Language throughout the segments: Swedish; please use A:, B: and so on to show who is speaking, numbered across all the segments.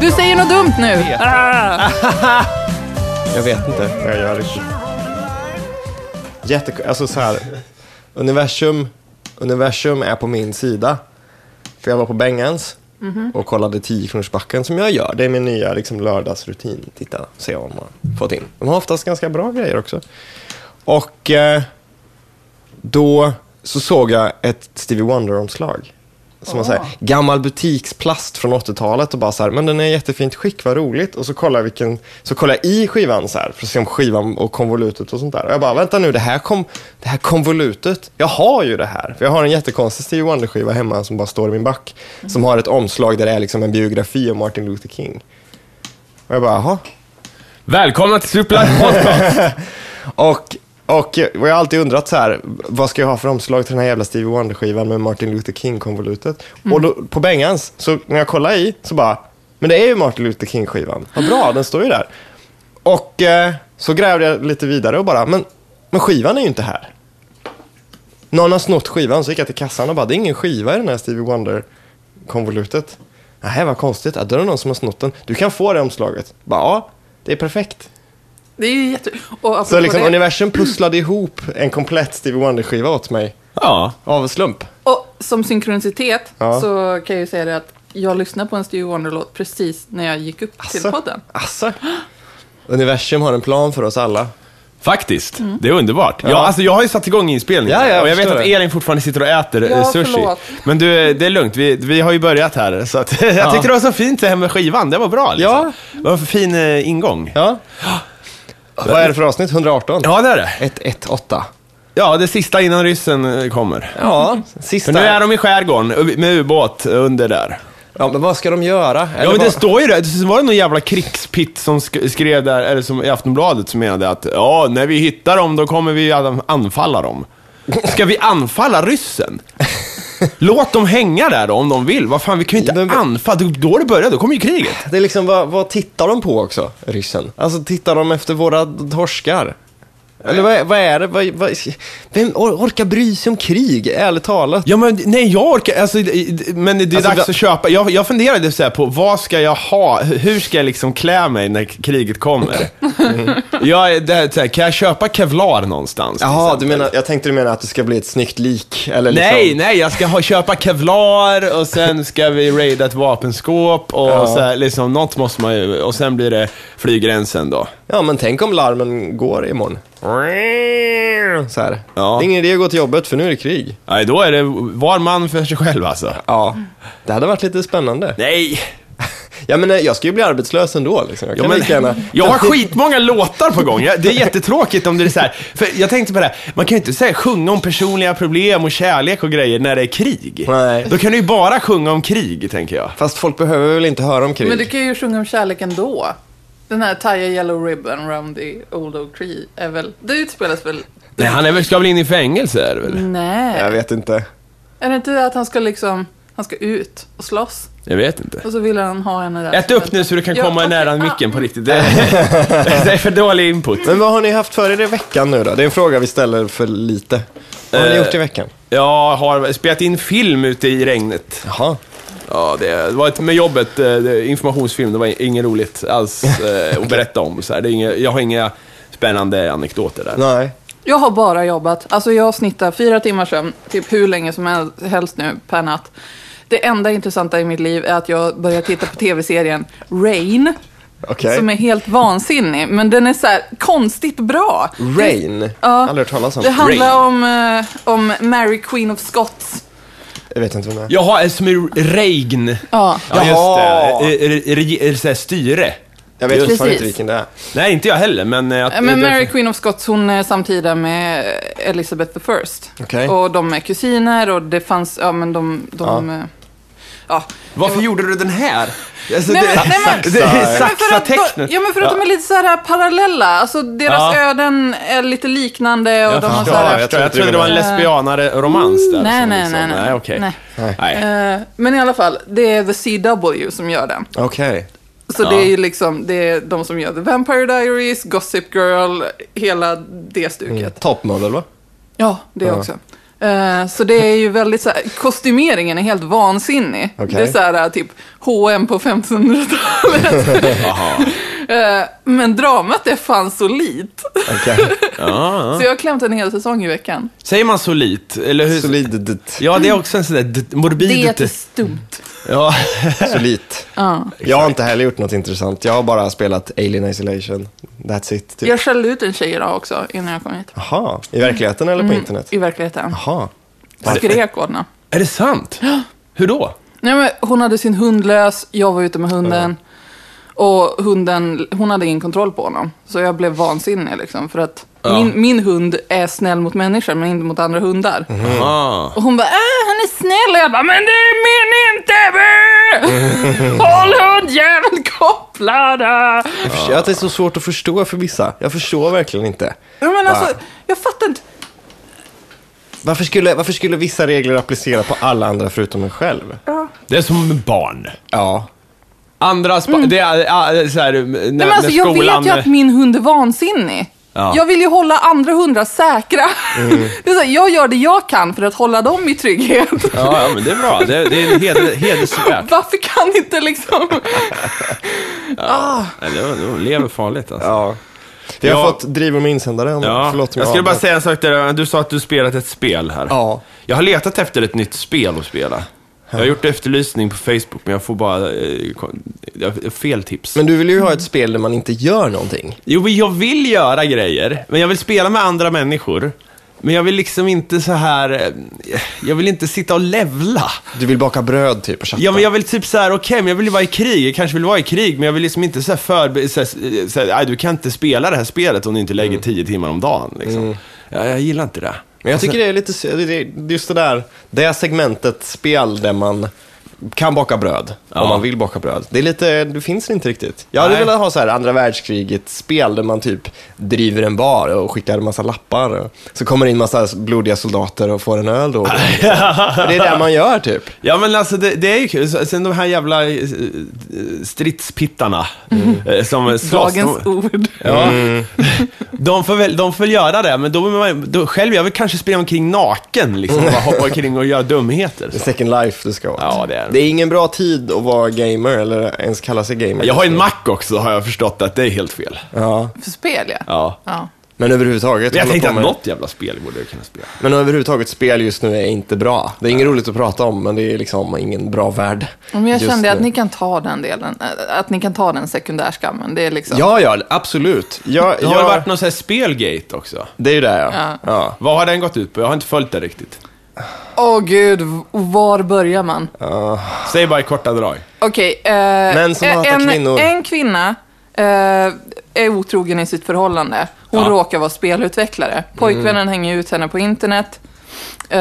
A: Du säger något dumt nu. Ah.
B: Jag vet inte vad jag gör. Jätte, alltså så här, universum, universum är på min sida. För jag var på Bengans och kollade 10-kronorsbacken som jag gör. Det är min nya liksom, lördagsrutin. Titta, se vad man har fått in. De har oftast ganska bra grejer också. Och eh, då så såg jag ett Stevie Wonder-omslag. Som var så här, gammal butiksplast från 80-talet och bara så här, men den är i jättefint skick, vad roligt. Och så kollar jag, vilken, så kollar jag i skivan så här, för att se om skivan och konvolutet och sånt där. Och jag bara, vänta nu, det här, kom, det här konvolutet, jag har ju det här. För jag har en jättekonstig Stevie Wonder-skiva hemma som bara står i min back. Som har ett omslag där det är liksom en biografi om Martin Luther King. Och jag bara, jaha,
C: Välkomna till Superlife Podcast!
B: Och, och jag har alltid undrat så här, vad ska jag ha för omslag till den här jävla Stevie Wonder-skivan med Martin Luther King-konvolutet? Och då, på Bengans, så när jag kollar i, så bara, men det är ju Martin Luther King-skivan. Vad bra, den står ju där. Och eh, så grävde jag lite vidare och bara, men, men skivan är ju inte här. Någon har snott skivan, så gick jag till kassan och bara, det är ingen skiva i den här Stevie Wonder-konvolutet. Nähä, vad konstigt. Ja, Då är det någon som har snott den. Du kan få det omslaget. Bara, ja, det är perfekt.
A: Det är ju jätte... Och
B: Så
A: apropå
B: liksom
A: det,
B: universum pusslade ihop en komplett Stevie Wonder-skiva åt mig.
C: Ja.
B: Av en slump.
A: och som synkronicitet
B: Ja.
A: så kan jag ju säga det att jag lyssnade på en Stevie Wonder-låt precis när jag gick upp till podden.
B: Asså. Universum har en plan för oss alla.
C: Faktiskt, det är underbart. Ja. alltså, jag har ju satt igång inspelningen
B: Mm. Ja, ja, jag
C: och jag vet
B: förstår
C: att
B: det.
C: Elin fortfarande sitter och äter
A: Ja,
C: eh, sushi.
A: förlåt.
C: Men du, eh, det är lugnt, vi, vi har ju börjat här. Så att, jag tyckte det var så fint det här med skivan, det var bra. Liksom.
B: Ja.
C: Det var en fin eh, ingång.
B: Ja. Vad är det för avsnitt? 118?
C: Ja, det är det.
B: 118.
C: Ja, det sista innan ryssen eh, kommer.
B: Ja,
C: För
B: sista.
C: nu är de i skärgården eh, med ubåt under där.
B: Ja, men vad ska de göra? Eller
C: Ja, men det
B: vad-
C: står ju där. Det var det någon jävla krigspitt som sk- skrev där, eller som i Aftonbladet, som menade att ja, när vi hittar dem, då kommer vi att anfalla dem. Ska vi anfalla ryssen? Låt dem hänga där då, om de vill. Vad fan, vi kan ju inte
B: Men-
C: anfalla. Då- Då det började, då kommer ju kriget.
B: det är liksom, vad, vad tittar de på också, ryssen? Alltså, tittar de efter våra torskar? Eller vad, är- vad är det? Vad, vad, vem or- orkar bry sig om krig, ärligt talat?
C: Ja, men nej, jag orkar alltså, i- i- Men det är
B: Alltså,
C: dags
B: va-
C: att köpa. Jag, jag funderade så här på vad ska jag ha? Hur ska jag liksom klä mig när kriget kommer? Jag, det här, så här, kan jag köpa kevlar någonstans?
B: Jaha, du menar, jag tänkte du menar att det ska bli ett snyggt lik? Eller liksom...
C: Nej, nej, jag ska ha, köpa kevlar och sen ska vi raida ett vapenskåp och
B: Ja.
C: så här, liksom, något måste man ju, och sen blir det flyggränsen då.
B: Ja, men tänk om larmen går imorgon. Så här.
C: Ja.
B: Det är ingen idé att gå till jobbet för nu är det krig.
C: Nej, då är det var man för sig själv alltså.
B: Ja. Det hade varit lite spännande.
C: Nej!
B: Ja, men eh, jag ska ju bli arbetslös ändå. Liksom. Jag kan
C: Ja, men,
B: lika gärna...
C: jag har skitmånga låtar på gång. Jag- Det är jättetråkigt om det är så här. För jag tänkte på det här, man kan ju inte säga sjunga om personliga problem och kärlek och grejer när det är krig.
B: Nej.
C: Då kan du ju bara sjunga om krig, tänker jag.
B: Fast folk behöver väl inte höra om krig?
A: Men du kan ju sjunga om kärlek ändå. Den här Tie a yellow ribbon round the old oak tree är väl... Det utspelas väl...
C: Nej, han är väl, ska väl in i fängelse, är det väl?
A: Nej.
B: Jag vet inte.
A: Är det inte att han ska liksom... Han ska ut och slåss.
C: Jag vet inte.
A: Och så vill han ha henne där.
C: Ät upp nu så du kan
A: Ja,
C: komma
A: okej.
C: nära
A: Ah.
C: micken på riktigt. Det är, det är för dålig input.
B: Men vad har ni haft för er i veckan nu då? Det är en fråga vi ställer för lite. Vad har ni
C: Eh.
B: gjort i veckan?
C: Jag har spelat in film ute i regnet.
B: Jaha.
C: Ja, det var ett, med jobbet, eh, det- informationsfilm, det var inget roligt alls eh, att berätta om. Så här. Det är inga, jag har inga spännande anekdoter där.
B: Nej.
A: Jag har bara jobbat. Alltså jag snittar fyra timmar sömn, typ hur länge som helst nu per natt. Det enda intressanta i mitt liv är att jag börjar titta på tv-serien Rain.
B: Okej.
A: Som är helt vansinnig, men den är så här konstigt bra.
B: Rain?
A: Ja.
B: Aldrig hört talas om.
A: Det handlar om, eh, om Mary Queen of Scots.
B: Jag vet inte vem det är.
C: Jaha, eh, som i regn.
A: Ja.
C: Ja,
B: Jaha.
C: just det. Eh, eh, reg- eh, så här, styre.
B: Jag vet
A: Precis.
B: fortfarande inte vilken det är.
C: Nej, inte jag heller, men... eh, att-
A: Eh, Men
C: det-
A: Mary Queen of Scots, hon är samtida med eh, Elizabeth the First.
B: Okej.
A: Och de är kusiner och det fanns, ja men de, de, eh, ja.
C: Varför gjorde du den här? Alltså,
A: Nej,
C: det-
A: men- nej, men-
C: det är
B: Nej, men
A: Men för att, de,
C: Saxatecknet.
A: ja, men för att de är lite så här parallella. Alltså deras
C: Ja.
A: öden är lite liknande och
C: Jag
A: de har så
C: förstår,
A: här...
B: Ja,
C: jag, tror, jag trodde det var en lesbianare-romans där.
A: Nej,
C: som
A: nej,
C: liksom-
A: nej, nej.
C: Nej, okej.
A: Nej.
C: Nej.
A: Eh, men i alla fall, det är The CW som gör den.
B: Okej.
A: Så det är ju liksom, det är de som gör The Vampire Diaries, Gossip Girl, hela det stuket.
C: Mm.
B: Topmodel va?
A: Ja, det
B: Ja.
A: också. Eh, Så det är ju väldigt så här, kostymeringen är helt vansinnig.
B: Okej.
A: Det är så här typ H&M på 1500-talet.
C: Jaha.
A: Eh, Men dramat är fan solitt.
B: Okej.
C: Ja.
A: Så jag har klämt en hel säsong i veckan.
C: Säger man solit? Eller hur?
B: Solidt.
C: Ja, det är också en sån där d- morbid...
A: Det är lite stumt.
C: Ja.
B: Solit.
A: Ja.
B: Jag har inte heller gjort något intressant. Jag har bara spelat Alien Isolation. That's it. Typ.
A: Jag skällde ut en tjej idag också innan jag kom hit.
B: Jaha. I verkligheten eller på internet?
A: I verkligheten.
B: Jaha.
A: Skrek åt henne.
C: Är det sant? Hur då?
A: Nej, men hon hade sin hund lös, jag var ute med hunden. Och hunden, hon hade ingen kontroll på honom. Så jag blev vansinnig liksom. För att
C: Ja.
A: min, min hund är snäll mot människor men inte mot andra hundar.
B: Mm.
C: Ah.
A: Och hon bara, äh, han är snäll. Och jag bara, men det är min inte! bä! Håll hundjäveln kopplad!
B: Jag förstår att det är så svårt att förstå för vissa. Jag förstår verkligen inte.
A: Ja, men alltså,
B: Va?
A: jag fattar inte.
B: Varför skulle, varför skulle vissa regler applicera på alla andra förutom en själv?
C: Det är som med barn.
B: Ja.
C: Andra spa- Det är ah, så här, när,
A: Mm. Nej, men alltså,
C: när
A: jag
C: skolan... eh,
A: vet ju att min hund är vansinnig.
C: Ja. Mm.
A: Jag vill ju hålla andra hundar säkra. Det är så här, jag gör det jag kan för att hålla dem i trygghet.
C: Ja, ja, men det är bra. Det, det är heder, hedersvärt.
A: Varför kan inte liksom...
C: Nej, det- De lever farligt alltså.
B: ja. Vi har
C: Ja.
B: fått drivor med insändare. Om,
C: Ja,
B: Förlåt om
C: jag skulle bara
B: avbröt.
C: säga en sak där. Du sa att du spelat ett spel här.
B: Ja.
C: Jag har letat efter ett nytt spel att spela. Jag har gjort efterlysning på Facebook, men jag får bara eh, kon- jag har fel tips.
B: Men du vill ju ha ett spel där man inte gör någonting.
C: Jo, men jag vill göra grejer, men jag vill spela med andra människor. Men jag vill liksom inte så här... eh, Jag vill inte sitta och levla.
B: Du vill baka bröd typ och chatta.
C: Ja, men jag vill typ så här, okej, men jag vill ju vara i krig. Jag kanske vill vara i krig, men jag vill liksom inte så här förbe... Så här, så här, nej, du kan inte spela det här spelet om du inte lägger tio timmar om dagen. Liksom. Ja, jag gillar inte det.
B: Mm.
C: Alltså-
B: Men jag tycker det är lite, sy- det är just det där, det segmentet spel där man kan baka bröd,
C: Ja.
B: om man vill baka bröd. Det, är lite, det finns inte riktigt. Jag hade
C: Nej.
B: velat ha så här andra världskriget-spel där man typ driver en bar och skickar en massa lappar. Och så kommer det in massa blodiga soldater och får en öl då. För det är det man gör typ.
C: Ja men alltså det, det är ju kul, Så- sen de här jävla eh, stridspittarna eh, som slåss.
A: Dagens
C: De,
A: ord.
C: ja, de, får väl, de får väl göra det, men då, vill man- då själv, jag vill kanske springa omkring naken liksom, och bara hoppa omkring och göra dumheter.
B: Det är
C: Så.
B: second life du ska åt.
C: Ja, det är det.
B: det är ingen bra tid att vara gamer eller ens kalla sig gamer.
C: Jag har ju en Mac också har jag förstått att det är helt fel.
B: ja.
A: För spel, ja.
C: Ja.
A: ja.
B: Men överhuvudtaget.
C: Men jag
B: hålla
C: tänkte
B: på
C: att
B: med-
C: något jävla spel borde jag kunna spela.
B: Men överhuvudtaget, spel just nu är inte bra. Det är inget roligt att prata om, men det är liksom ingen bra värld.
A: Men jag
B: just
A: kände att
B: nu.
A: ni kan ta den delen, eh, att ni kan ta den sekundärskammen. Det är liksom...
B: Ja, ja, absolut. Jag,
C: Det har
B: jag-
C: väl varit någon sån här spelgate också.
B: Det är ju det, ja.
A: Ja.
B: ja.
C: Vad har den gått ut på? Jag har inte följt det riktigt.
A: Åh gud, v- var börjar man?
C: Säg bara i korta drag.
A: Okej, eh,
B: Män som hatar
A: en,
B: kvinnor.
A: en kvinna eh, är otrogen i sitt förhållande. Hon
C: Ja.
A: råkar vara spelutvecklare. Pojkvännen
B: Mm.
A: hänger ut henne på internet eh,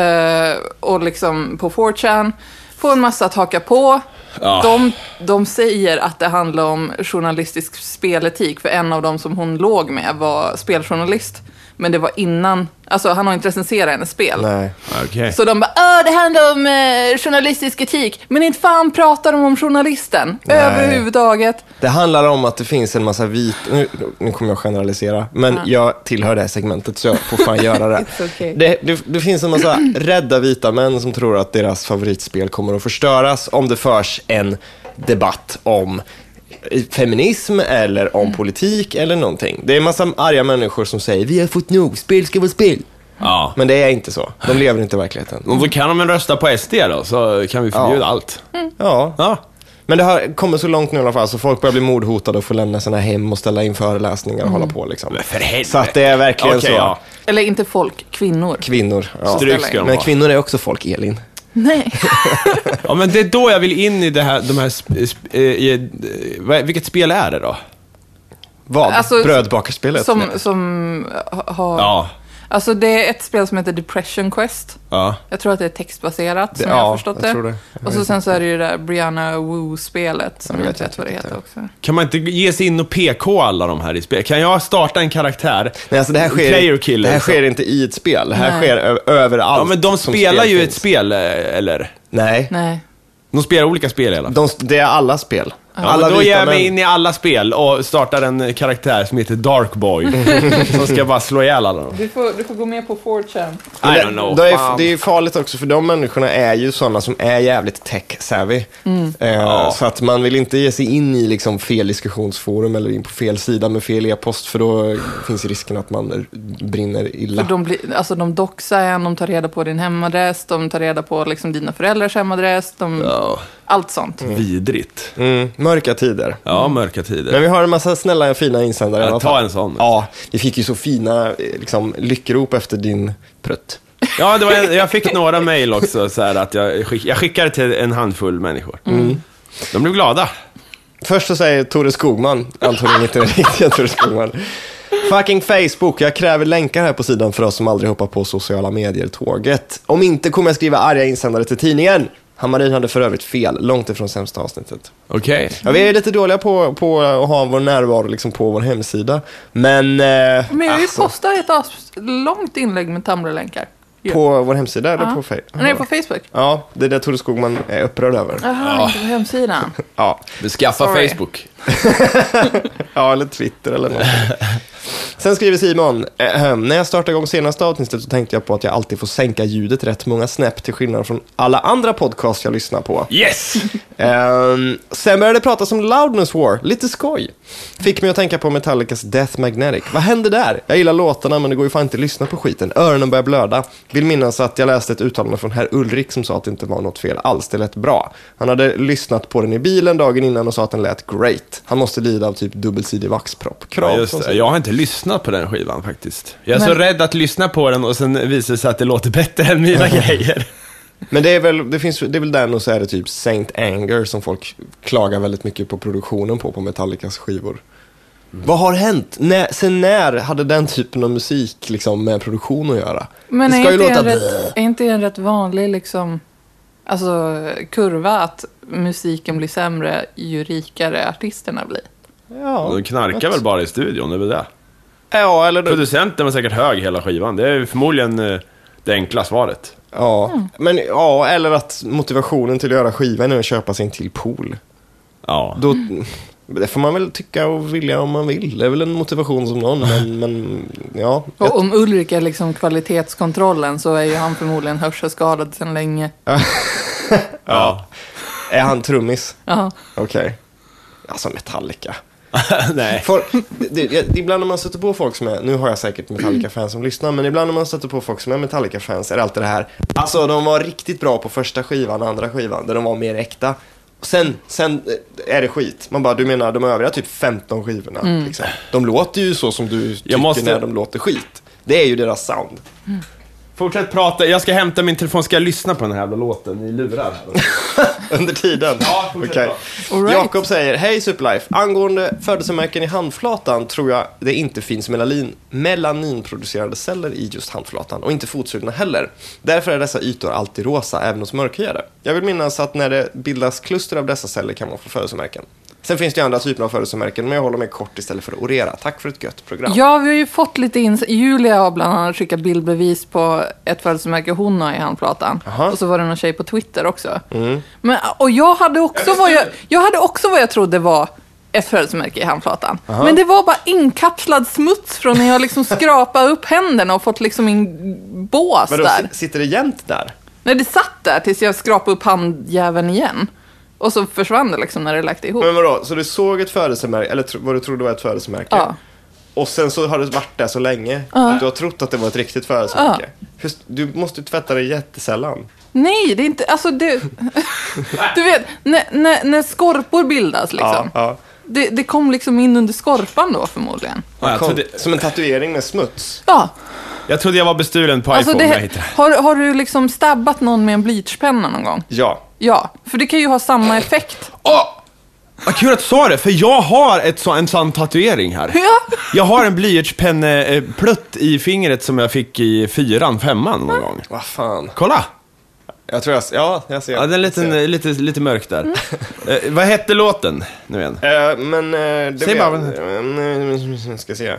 A: och liksom på 4chan. Får en massa att haka på.
C: Ja.
A: De, de säger att det handlar om journalistisk speletik, för en av dem som hon låg med var speljournalist. Men det var innan, alltså han har inte recenserat hennes spel.
B: Nej.
C: Okej.
A: Så de bara, "Åh, det handlar om eh, journalistisk etik. Men inte fan pratar de om journalisten
B: Nej.
A: överhuvudtaget.
B: Det handlar om att det finns en massa vit... Nu, nu kommer jag generalisera, men jag tillhör det här segmentet, så jag får fan göra det.
A: It's okay.
B: det, det. Det finns en massa rädda vita män som tror att deras favoritspel kommer att förstöras om det förs en debatt om feminism eller om
A: Mm.
B: politik eller någonting. Det är en massa arga människor som säger vi har fått nog, spel ska vara spel.
C: Ja.
B: Men det är inte så. De lever inte i verkligheten.
C: Och Då kan de väl rösta på SD då, så kan vi förbjuda allt.
B: Ja,
C: Ja.
B: Men det har kommit så långt nu i alla fall, så folk börjar bli mordhotade och får lämna sina hem och ställa in föreläsningar och hålla på. Liksom.
C: Mm. Men för helvete.
B: Så att det är verkligen
C: Okej,
B: så.
C: ja.
A: Eller inte folk, kvinnor.
B: Kvinnor. Ja.
C: Stryk ska de
B: Men
C: ha.
B: kvinnor är också folk, Elin.
A: Nej.
C: Ja, men det är då jag vill in i det här, de här... Sp, sp, eh, i, eh, vad- vilket spel är det då?
B: Vad?
A: Alltså,
B: Brödbakarspelet?
A: som,
B: Nej.
A: som eh, ha- har...
C: Ja.
A: Alltså det är ett spel som heter Depression Quest.
C: Ja.
A: Jag tror att det är textbaserat, som
B: Det-
A: jag
B: ja,
A: har förstått
B: jag
A: det.
B: tror det. Jag
A: Och så
B: vet
A: sen så är det ju det där Brianna Woo-spelet, som
B: Jag
A: jag
B: vet
A: inte vet
B: inte
A: vad det
B: riktigt
A: heter
B: det.
A: också.
C: Kan man inte ge sig in och PK alla de här i spel? Kan jag starta en karaktär?
B: Nej, alltså det här
C: Player
B: sker,
C: killer.
B: det här
C: så-
B: sker inte i ett spel. Det här
A: Nej.
B: sker ö- överallt.
C: ja, men de
B: som
C: spelar
B: spel
C: ju
B: finns.
C: ett spel, eh, eller?
B: Nej,
A: Nej.
C: De spelar olika spel i alla fall.
B: de, det är alla spel.
C: Ja, men då
B: vita
C: ger jag mig
B: män.
C: in i alla spel och startar en karaktär som heter Dark Boy. som ska bara slå ihjäl alla dem.
A: Du får, du får gå med på 4chan.
C: I don't know.
B: Det är,
C: fan.
B: det är ju farligt också, för de människorna är ju sådana som är jävligt tech-savvy. Eh, Så att man vill inte ge sig in i liksom fel diskussionsforum eller in på fel sida med fel e-post, för då finns ju risken att man brinner illa.
A: För de, blir, alltså, de doxar en, de tar reda på din hemadress, de tar reda på liksom, dina föräldrars hemadress, de,
C: Ja,
A: allt sånt.
C: vidrigt.
B: Mm, mörka tider.
C: Ja, mörka tider.
B: Men vi har en massa snälla, fina insändare. i
C: Ja,
B: alla
C: ta
B: fall.
C: en sån.
B: Ja, vi fick ju så fina eh, liksom, lyckrop efter din prutt.
C: Ja, det var en, jag fick några mejl också, så här, att jag, skick, jag skickade till en handfull människor.
A: Mm.
C: De blev glada.
B: Först så säger Tore Skogman, antagligen inte den riktiga Tore Skogman. Fucking Facebook, jag kräver länkar här på sidan för oss som aldrig hoppar på sociala medier-tåget. Om inte kommer jag skriva arga insändare till tidningen. Hammarin hade för övrigt fel, långt ifrån sämsta avsnittet.
C: Okej.
B: Ja, vi är lite dåliga på, på att ha vår närvaro liksom på vår hemsida, men... Eh,
A: Men jag har ju
B: alltså,
A: postat ett as- långt inlägg med Tumblr-länkar. ju.
B: På vår hemsida eller
A: Ja.
B: på Facebook?
A: Nej, på Facebook.
B: Ja, det är det Tore Skogman är upprörd över.
A: Jaha, inte på hemsidan.
B: Ja.
C: Beskaffa
A: Sorry.
C: Facebook.
B: Ja, eller Twitter eller något. Sen skriver Simon, ehem, när jag startade igång senaste avsnittet så tänkte jag på att jag alltid får sänka ljudet rätt många snäpp till skillnad från alla andra podcasts jag lyssnar på.
C: Yes!
B: Ehm, sen började det pratas om Loudness War, lite skoj. Fick mig att tänka på Metallicas Death Magnetic. Vad hände där? Jag gillar låtarna men det går ju fan inte att lyssna på skiten. Öronen börjar blöda. Vill minnas att jag läste ett uttalande från herr Ulrik som sa att det inte var något fel alls, det lät bra. Han hade lyssnat på den i bilen dagen innan och sa att den lät great. Han måste lida av typ dubbelsidig vaxpropp. Krav
C: Ja, just
B: från
C: det.
B: sig.
C: Jag har inte lyssnat på den skivan faktiskt. Jag är så
A: Men-
C: rädd att lyssna på den och sen visar det sig att det låter bättre än mina grejer.
B: Men det är väl, det finns, det är väl den och så är det typ Saint Anger som folk klagar väldigt mycket på produktionen på, på Metallicas skivor.
C: Mm.
B: Vad har hänt? När, sen när hade den typen av musik liksom med produktion att göra?
A: Men
B: det
A: är
B: ska ju
A: inte,
B: låta...
A: en
B: blä.
A: rätt, är inte en rätt vanlig liksom, alltså, kurva att musiken blir sämre ju rikare artisterna blir?
B: Ja.
C: De knarkar väl bara i studion, det är väl det.
B: ja, eller... du-
C: Producenten var säkert hög hela skivan. Det är förmodligen eh, det enkla svaret.
B: Ja. Men, ja, eller att motivationen till att göra skivan är att köpa sig en till pool.
C: Ja.
B: Då, Det får man väl tycka och vilja om man vill. Det är väl en motivation som någon, men, men ja.
A: Och om Ulrik är liksom kvalitetskontrollen så är ju han förmodligen hörselskadad sedan länge.
C: ja.
B: Är han trummis?
A: Ja.
B: Okej. Alltså Metallica.
C: Nej.
B: Folk, det, det, ibland när man stöter på folk som är, nu har jag säkert Metallica-fans som lyssnar, men ibland när man stöter på folk som är Metallica-fans är det alltid det här, alltså de var riktigt bra på första skivan och andra skivan, där de var mer äkta. Sen, sen eh, är det skit. Man bara, du menar de övriga typ 15 skivorna? Liksom. De låter ju så som du tycker
C: Mm. måste-
B: när de låter skit. Det är ju deras sound.
C: Fortsätt prata. Jag ska hämta min telefon. Ska jag lyssna på den här jävla låten? Ni lurar.
B: Under tiden?
C: Ja, fortsätt
B: Okej.
C: då.
A: All right.
B: Jakob säger, hej Superlife. Angående födelsemärken i handflatan tror jag det inte finns melanin, melaninproducerande celler i just handflatan och inte fotsulorna heller. Därför är dessa ytor alltid rosa, även hos mörkhyade. Jag vill minnas att när det bildas kluster av dessa celler kan man få födelsemärken. Sen finns det ju andra typer av födelsemärken, men jag håller mig kort istället för att orera. Tack för ett gött program.
A: Ja, vi har ju fått lite ins... Julia har bland annat skickat bildbevis på ett födelsemärke hon har i handflatan.
B: Jaha. Mm.
A: Och så var det någon tjej på Twitter också. Men, och jag hade, också vad jag, jag hade också vad jag trodde var ett födelsemärke i handflatan. Men det var bara inkapslad smuts från när jag liksom skrapade upp händerna och fått liksom min bås
B: Vadå,
A: där.
B: si- sitter det jämnt där?
A: Nej, det satt där tills jag skrapade upp handjäveln igen. Och så försvann det liksom när det läkte ihop.
B: Men vadå, så du såg ett födelsemärke, eller tro- vad du trodde var ett födelsemärke?
A: Ja.
B: Och sen så har du varit där så länge att du har trott att det var ett riktigt födelsemärke. Just, du måste ju tvätta det jättesällan.
A: Nej, det är inte... Alltså, det, du vet, när, när, när skorpor bildas liksom.
B: ja.
A: Det, det kom liksom in under skorpan då förmodligen.
C: Ja, jag,
B: Kom,
C: trodde,
B: Som en tatuering med smuts.
A: Ja,
C: jag trodde jag var bestulen på
A: alltså
C: iPhone när jag
A: det,
C: hittade
A: har, har du liksom stabbat någon med en blyertspenna någon gång?
B: Ja.
A: Ja, för det kan ju ha samma effekt.
C: Åh! Vad kul att du sa det, för jag har ett så, en sån tatuering här.
A: Ja.
C: Jag har en blyertspenneplutt i fingret som jag fick i fyran, femman någon gång.
B: Vad fan.
C: Kolla!
B: Jag tror jag... s- Ja, jag ser.
C: Ja, den är
B: jag
C: liten,
B: ser.
C: eh, lite, lite mörk
A: Mm.
C: där. Eh, vad hette låten nu igen?
B: Eh, men... eh, det
C: Säg
B: vet-
C: bara vad den
B: Eh, nej, Ska se.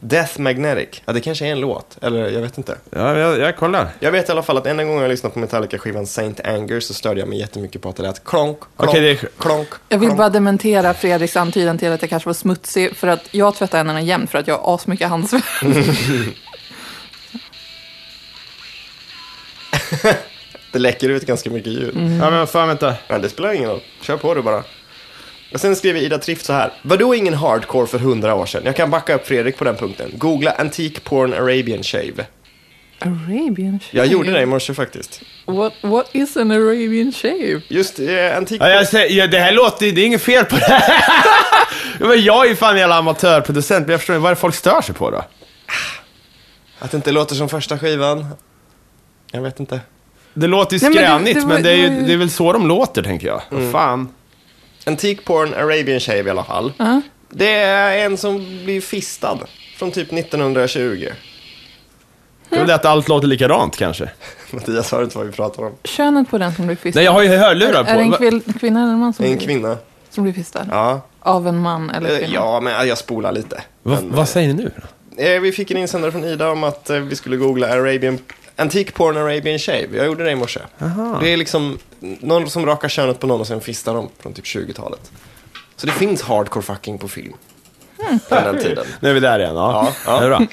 B: Death Magnetic. Ja, det kanske är en låt. Eller jag vet inte.
C: Ja, jag, jag kollar.
B: Jag vet i alla fall att enda gången jag lyssnade på Metallica-skivan Saint Anger så störde jag mig jättemycket på att det lät klonk, klonk,
C: Okej, det är-
B: klonk.
A: Jag vill
B: klonk.
A: bara dementera Fredriks antydan till att jag kanske var smutsig, för att jag tvättar händerna jämt för att jag har asmycket handsvett.
B: Det läcker ut ganska mycket ljud.
A: Mm.
C: Ja, men fan vänta.
B: Men det spelar ingen roll. Kör på du bara. Och sen skriver Ida Trift så här. Vadå ingen hardcore för hundra år sedan? Jag kan backa upp Fredrik på den punkten. Googla antique porn Arabian shave.
A: Arabian shave?
B: Jag gjorde det i morse faktiskt.
A: What, what is an Arabian shave?
B: Just eh, antique
C: Ja, jag säger, ja, det här låter ju- det är inget fel på det här. Ja, men jag är ju fan en jävla amatörproducent, men jag förstår inte, vad är det folk stör sig på då?
B: Att det inte låter som första skivan. Jag vet inte.
C: Det låter ju
A: Nej, men det-
C: skränigt,
A: det
C: men,
A: var-
C: det, är
A: det var
C: ju,
A: ju-
C: det är väl så de låter, tänker jag. Vad Fan.
B: Antique porn Arabian shave i alla fall.
A: Ja.
B: Det är en som blir fistad. Från typ 1920.
C: Det är väl det att allt låter likadant kanske.
B: Mattias hör inte vad vi pratar om.
A: Könet på den som blir fistad?
C: Nej, jag har ju hörlurar på.
A: är det en
C: Va-
A: kvill- kvinna eller en man som,
B: En
A: blir-
B: kvinna.
A: som blir fistad?
B: Ja.
A: Av en man eller
B: Eh,
A: kvinna?
B: Ja, men jag spolar lite.
C: Va,
B: Men,
C: vad säger ni nu?
B: Eh, vi fick en insändare från Ida om att eh, vi skulle googla Arabian, antique porn Arabian shave. Jag gjorde det i morse. Det är liksom någon som rakar könet på någon och sen fistar dem från typ 20-talet. Så det finns hardcore fucking på film. Från den tiden.
C: Nu är vi där igen. Ja,
B: Ja, ja.
C: Det är bra.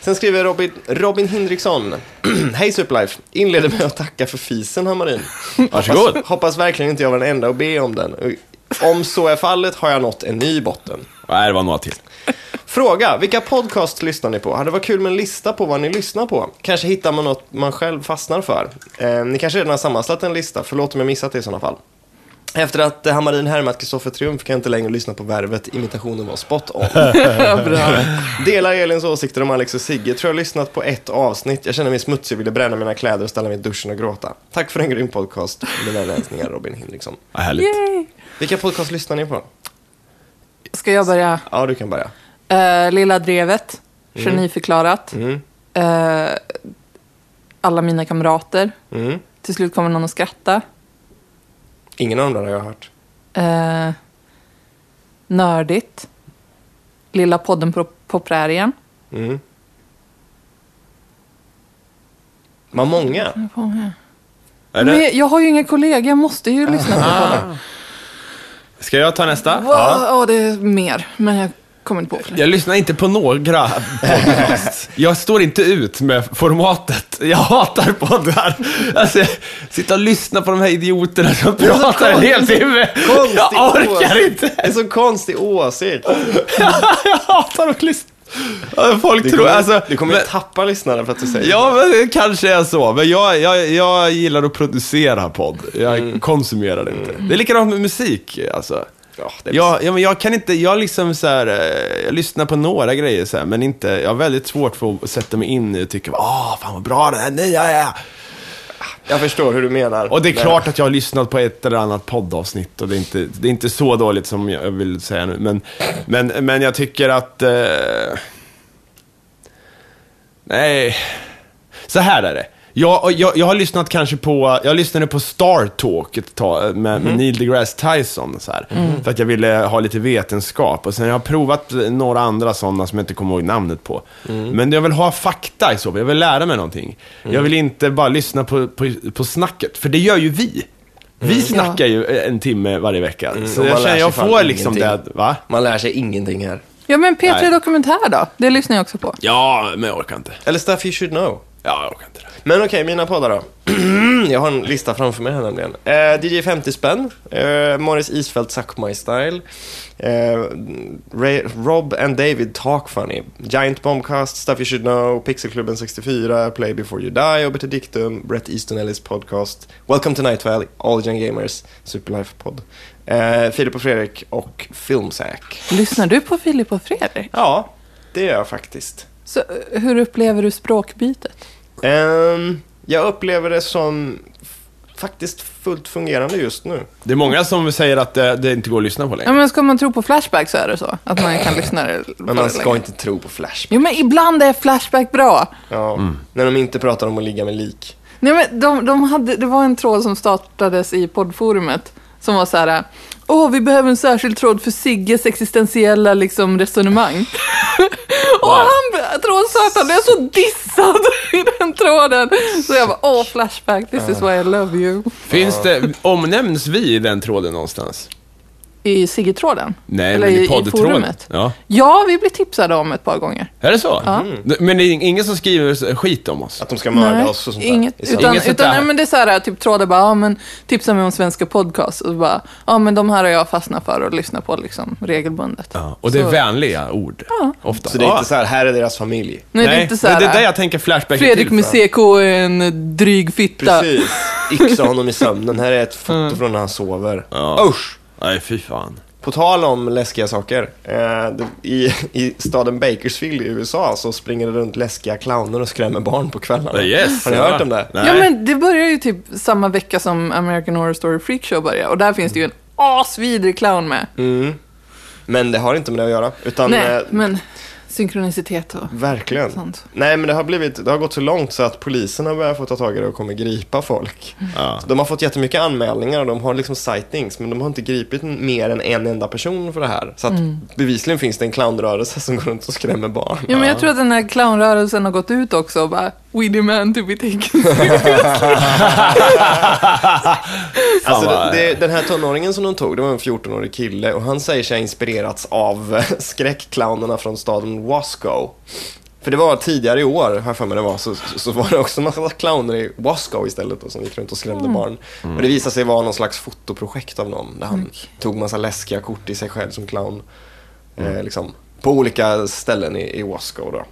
B: Sen skriver Robin, Robin Hindriksson. Hej Superlife. Inleder med att tacka för fisen Hammarin.
C: Varsågod.
B: Hoppas, hoppas verkligen inte jag var den enda att be om den. Om så är fallet har jag nått en ny botten.
C: Nej, det var några till.
B: Fråga, vilka podcast lyssnar ni på? Hade varit kul med en lista på vad ni lyssnar på. Kanske hittar man något man själv fastnar för. Eh, ni kanske redan har sammanställt en lista, förlåt om jag missat det i sådana fall. Efter att eh, Hammarin härmat Kristoffer Triumf kan jag inte längre lyssna på Värvet, imitationen var spot on.
A: Bra.
B: Delar Elins åsikter om Alex och Sigge, tror jag lyssnat på ett avsnitt. Jag känner mig smutsig, ville bränna mina kläder och ställa mig i duschen och gråta. Tack för en grym podcast, mina hälsningar Robin Hindriksson.
C: Ja, härligt.
A: Yay!
B: Vilka podcast lyssnar ni på?
A: Ska jag börja?
B: Ja, du kan börja.
A: Eh, Lilla Drevet, Geniförklarat.
B: Mm.
A: Eh, alla mina kamrater.
B: Mm.
A: Till slut kommer någon att skratta.
B: Ingen av dem där har jag hört.
A: Eh, nördigt. Lilla podden på, på prärien.
B: Mm. Vad många.
C: Är
A: Men
C: det,
A: jag- jag har ju inga kollegor, jag måste ju lyssna på podden.
C: ska jag ta nästa?
A: Wow, ja, det är mer, men jag kommer inte på fler.
C: Jag lyssnar inte på några podcasts. Jag står inte ut med formatet. Jag hatar poddar. Alltså, sitta och lyssna på de här idioterna som pratar en hel timme.
B: Konstig
C: Jag orkar
B: åsikt.
C: inte.
B: Det är så konstig åsikt.
C: Jag hatar att lyssna. Ja, Folk
B: Du
C: tror...
B: kommer,
C: alltså,
B: du kommer
C: men,
B: ju tappa lyssnare för att du säger
C: Ja, men det kanske är så. Men jag, jag, jag gillar att producera podd. Jag
B: Mm.
C: konsumerar det inte. Det är likadant med musik, alltså.
B: Ja, det är
C: Jag, ja, men jag kan inte, jag liksom så här, eh, jag lyssnar på några grejer så här, men inte, jag har väldigt svårt för att sätta mig in i och tycka, ah, fan vad bra det här nya är.
B: Jag förstår hur du menar.
C: Och det är
B: Men-
C: klart att jag har lyssnat på ett eller annat poddavsnitt och det är inte, det är inte så dåligt som jag vill säga nu. Men, men, men jag tycker att... Eh, nej. Så här är det. Jag, jag, jag har lyssnat kanske på, jag lyssnade på Star Talk ett tag eh, med, med Neil deGrasse Tyson så här, För att jag ville ha lite vetenskap. Och sen har jag provat eh, några andra sådana som jag inte kommer ihåg namnet på. Men jag vill ha fakta i så fall, jag vill lära mig någonting. Jag vill inte bara lyssna på, på, på snacket, för det gör ju vi. Vi snackar ju eh, en timme varje vecka. Så
B: och man
C: Mm. jag
B: lär
C: känner,
B: sig
C: jag
B: fan
C: får liksom det,
B: ingenting.
C: va?
B: Man lär sig ingenting här.
A: Ja, men P3
C: Nej.
A: Dokumentär då? Det lyssnar jag också på.
C: Ja, men jag orkar inte.
B: Eller stuff you should know.
C: Ja, jag orkar inte det.
B: Men okej, mina poddar då. jag har en lista framför mig här nämligen. Eh, DJ 50 spänn, eh, Morris Isfält Suck My Style, eh, Ray, Rob and David Talk Funny, Giant Bombcast, Stuff You Should Know, Pixelklubben 64, Play Before You Die, Obert Dictum, Brett Easton Ellis Podcast, Welcome to Night Valley, All Gen Gamers, Superlife Pod, eh, Filip och Fredrik och Filmsack.
A: Lyssnar du på Filip och Fredrik?
B: Ja, det gör jag faktiskt.
A: Så, eh, hur upplever du språkbytet?
B: Ehm, jag upplever det som f- faktiskt fullt fungerande just nu.
C: Det är många som säger att det, det inte går att lyssna på längre.
A: Ja, men ska man tro på Flashback så är det så. Att man kan lyssna på
B: Men
A: det
B: man ska
A: länge.
B: inte tro på Flashback.
A: Jo, men ibland är Flashback bra.
B: Ja,
A: Mm.
B: När de inte pratar om att ligga med lik.
A: Nej, men de, de hade, det var en tråd som startades i poddforumet som var så här... Åh, vi behöver en särskild tråd för Sigges existentiella liksom, resonemang. Och han, tråden sa att han blev så dissad i den tråden. Så jag bara, åh, Flashback, this is why I love you.
C: Finns det, omnämns vi i den tråden någonstans?
A: I Sigge-tråden?
C: Nej,
A: Eller
C: men i
A: i, i
C: poddtråden.
A: forumet?
C: Ja.
A: ja, vi blev tipsade om ett par gånger.
C: Är det så? Mm. Men det är ingen som skriver skit om oss?
B: Att de ska mörda
A: Nej,
B: oss och sånt där.
A: inget,
B: I Sverige.
A: utan,
C: Inget sånt
A: utan
C: där.
A: nej, men det är så här, typ trådar bara, ja men tipsa mig om svenska podcast. Och bara, ja men de här har jag fastnat för och lyssnat på liksom regelbundet.
C: Ja, och det är
A: Så-
C: vänliga ord. Ofta.
B: Så det är
C: Ja.
B: inte så här, här är deras familj.
A: Nej, det är inte så här,
C: men det är där jag tänker Flashback är
A: Fredrik
C: till
A: med
C: för.
A: CK är en dryg fitta.
B: Precis. Yxa honom i sömnen. Här är ett
A: Mm.
B: foto från när han sover.
C: Ja.
B: Usch!
C: Nej, fy fan.
B: På tal om läskiga saker. Eh, det- I, I staden Bakersfield i USA så springer det runt läskiga clowner och skrämmer barn på kvällarna.
C: Yes.
B: Har ni hört om det?
C: Nej.
A: Ja men det börjar ju typ samma vecka som American Horror Story Freak Show börjar. Och där finns det ju en asvidrig clown med.
B: Mm. Men det har inte med det att göra. Utan
A: Nej,
B: eh,
A: men synkronicitet och...
B: Verkligen.
A: Sant.
B: Nej, men det har, blivit, det har gått så långt så att polisen har börjat få ta tag i det och kommer gripa folk.
C: Ja.
B: Så De har fått jättemycket anmälningar och de har liksom sightings, men de har inte gripit n- mer än en enda person för det här. Så att bevisligen finns det en clownrörelse som går runt och skrämmer barn.
A: Ja, men jag tror att den här clownrörelsen har gått ut också och bara We demand to be taken seriously.
B: Alltså,
C: vad-
B: det, det, den här tonåringen som de tog, det var en 14-årig kille och han säger sig ha inspirerats av eh, skräckclownerna från staden Wasco. För det var tidigare i år, har jag för mig det var, så, så så var det också en massa clowner i Wasco istället då, som gick runt och skrämde barn.
C: Mm.
B: Och det visade sig vara någon slags fotoprojekt av någon där han tog massa läskiga kort i sig själv som clown.
C: Mm.
B: Eh, liksom, på olika ställen i, i Wasco då.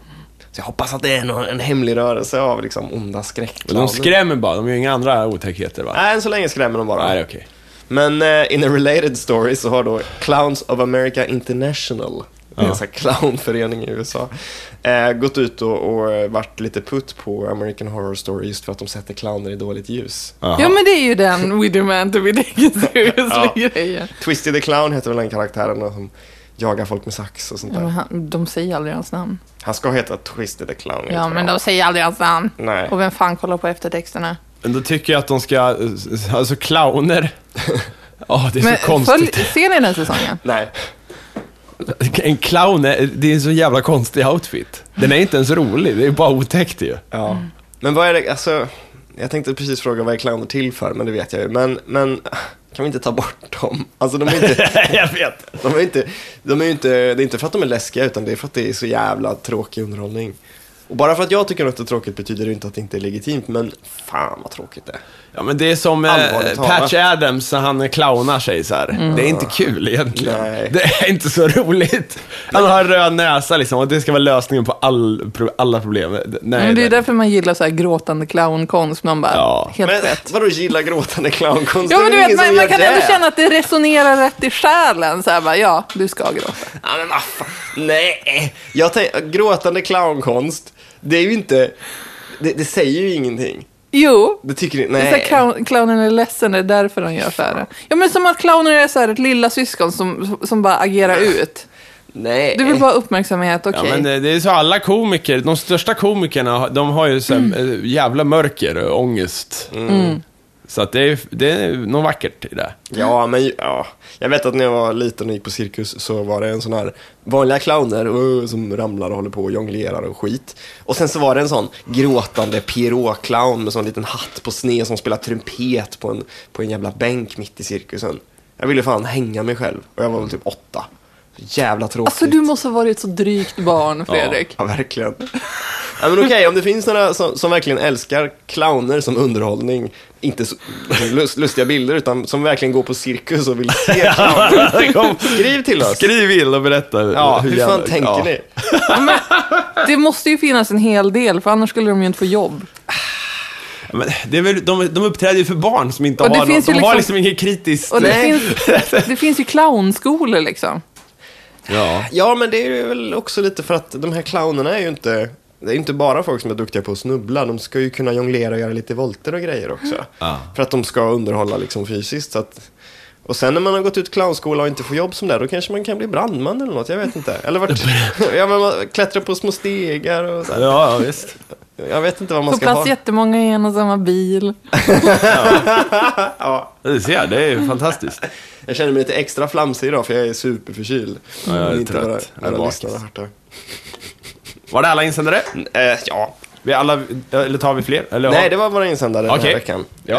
B: Så jag hoppas att det är någon, en hemlig rörelse av liksom, onda
C: Men de
B: skräckclowner.
C: skrämmer bara, de gör inga andra otäckheter va?
B: Nej, än så länge skrämmer de bara.
C: Nej, okej.
B: Men eh, in a related story så har då Clowns of America International, det är en sån här clownförening i USA, eh, gått ut och, och eh, varit lite putt på American Horror Story just för att de sätter clowner i dåligt ljus.
C: Jaha.
A: ja, men det är ju den We demand to be taken seriously-grejen.
B: Twisty the Clown heter väl den karaktären då, som jagar folk med sax och sånt
A: Ja, men
B: där.
A: han, de säger aldrig hans namn.
B: Han ska heta Twisty the Clown. jag
A: Ja,
B: tror
A: men
B: jag.
A: de säger aldrig hans namn.
B: Nej.
A: Och vem fan kollar på eftertexterna?
C: Men då tycker jag att de ska, eh, alltså clowner. Ja, det är
A: Men
C: så konstigt.
A: följ- ser ni den säsongen?
B: Nej.
C: En clown, är, det är en så jävla konstig outfit. Den är inte ens rolig, det är bara otäckt ju.
B: Ja.
A: Mm.
B: Men vad är det, alltså, jag tänkte precis fråga vad är clowner till för, men det vet jag ju. Men, men kan vi inte ta bort dem? Alltså de är inte...
C: jag vet.
B: De är inte, de är ju inte, det är inte för att de är läskiga utan det är för att det är så jävla tråkig underhållning. Och bara för att jag tycker något är tråkigt betyder det inte att det inte är legitimt, men fan vad tråkigt det är.
C: Ja men det är som eh,
B: Allvarligt talat.
C: Patch Adams när han clownar sig så här.
A: Mm.
C: Det är inte kul egentligen.
B: Nej.
C: Det är inte så roligt. Han har en röd näsa liksom och det ska vara lösningen på all, pro- alla problem. Nej,
A: men det är
C: nej.
A: ju därför man gillar så här gråtande clownkonst. Man bara,
C: Ja.
A: helt
B: Men
A: rätt.
B: vadå gilla gråtande clownkonst?
A: Ja,
B: Det är
A: men du
B: väl
A: vet,
B: ingen som
A: man, man
B: gör
A: kan
B: det.
A: ändå känna att det resonerar rätt i själen. Så här bara, ja, du ska gråta.
B: Ja, men vad fan. Nej, jag tänk, gråtande clownkonst, det är ju inte, det, det säger ju ingenting.
A: Jo,
B: Det tycker ni,
A: Det är så här,
B: nej.
A: clown, clownen är ledsen, det är därför de gör så här. Ja, men som att clownen är så här ett lilla syskon som, som bara agerar ut.
B: nej.
A: Du vill bara ha uppmärksamhet, okej.
C: Ja, men eh, det är så alla komiker, de största komikerna, har- de har ju så här,
A: Mm.
C: eh, jävla mörker och ångest. Så att det är, det är något vackert i det.
B: Ja, men ju- ja. Jag vet att när jag var liten och gick på cirkus så var det en sån här vanliga clowner uh, som ramlar och håller på och jonglerar och skit. Och sen så var det en sån gråtande clown med sån liten hatt på sned som spelar trumpet på en, på en jävla bänk mitt i cirkusen. Jag ville fan hänga mig själv och jag var väl typ åtta. Jävla tråkigt.
A: Alltså du måste ha varit så drygt barn, Fredrik.
B: Ja, verkligen. Ja, men okej, om det finns några som, som verkligen älskar clowner som underhållning, inte så, lust, lustiga bilder, utan som verkligen går på cirkus och vill se clowner. Skriv till oss.
C: Skriv in och berätta.
B: Ja, hur fan
C: jävla-
B: tänker
C: ja.
B: ni?
A: Det måste ju finnas en hel del, för annars skulle de ju inte få jobb.
C: Ja, Men det är väl, de, de uppträder ju för barn som inte
A: Och det
C: har något.
A: finns
C: De
A: ju
C: har
A: liksom-
C: liksom inget kritiskt.
A: Och det,
B: Nej.
A: finns, det finns ju clownskolor liksom.
C: Ja.
B: Ja, men det är ju väl också lite för att de här clownerna är ju inte, det är ju inte bara folk som är duktiga på att snubbla, de ska ju kunna jonglera och göra lite volter och grejer också. För att de ska underhålla liksom fysiskt. Så att, och sen när man har gått ut clownskola och inte får jobb som där, då kanske man kan bli brandman eller något, jag vet inte. Eller vart, ja, men man klättrar på små stegar och så här.
C: Ja, ja, visst.
B: Jag vet inte vad man
A: Får
B: ska ha.
A: plats jättemånga i en och samma bil.
B: Ja,
C: Du ser, det är ju fantastiskt.
B: jag känner mig lite extra flamsig idag för jag är superförkyld.
C: Ja, jag är
B: Om inte
C: trött.
B: våra-
C: Jag är
B: våra
C: bakis.
B: lyssnare har hört det.
C: Var det alla insändare?
B: Eh, ja.
C: Vi alla, eller tar vi fler? Eller,
B: Nej, det var våra insändare den
C: Okej.
B: här veckan.
C: Ja.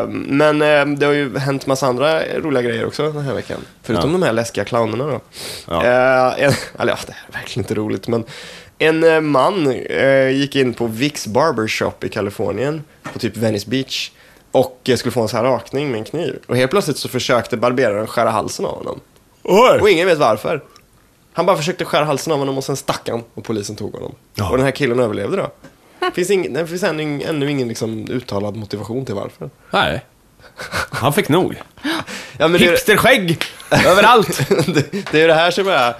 B: Eh, men eh, det har ju hänt massa andra roliga grejer också den här veckan. Förutom
C: Ja.
B: de här läskiga clownerna då.
C: Ja.
B: Eh, en, eller ja, det här är verkligen inte roligt, men en eh, man eh, gick in på Vicks Barbershop i Kalifornien, på typ Venice Beach, och eh, skulle få en så här rakning med en kniv. Och helt plötsligt så försökte barberaren skära halsen av honom. Och
C: Oj!
B: ingen vet varför. Han bara försökte skära halsen av honom och sen stack han och polisen tog honom.
C: Ja.
B: Och den här killen överlevde då. Finns ing, det finns ännu, ännu ingen liksom uttalad motivation till varför.
C: Nej. Han fick nog.
B: Ja, men det, är-
C: Hipsterskägg! Överallt!
B: det, det är det här som är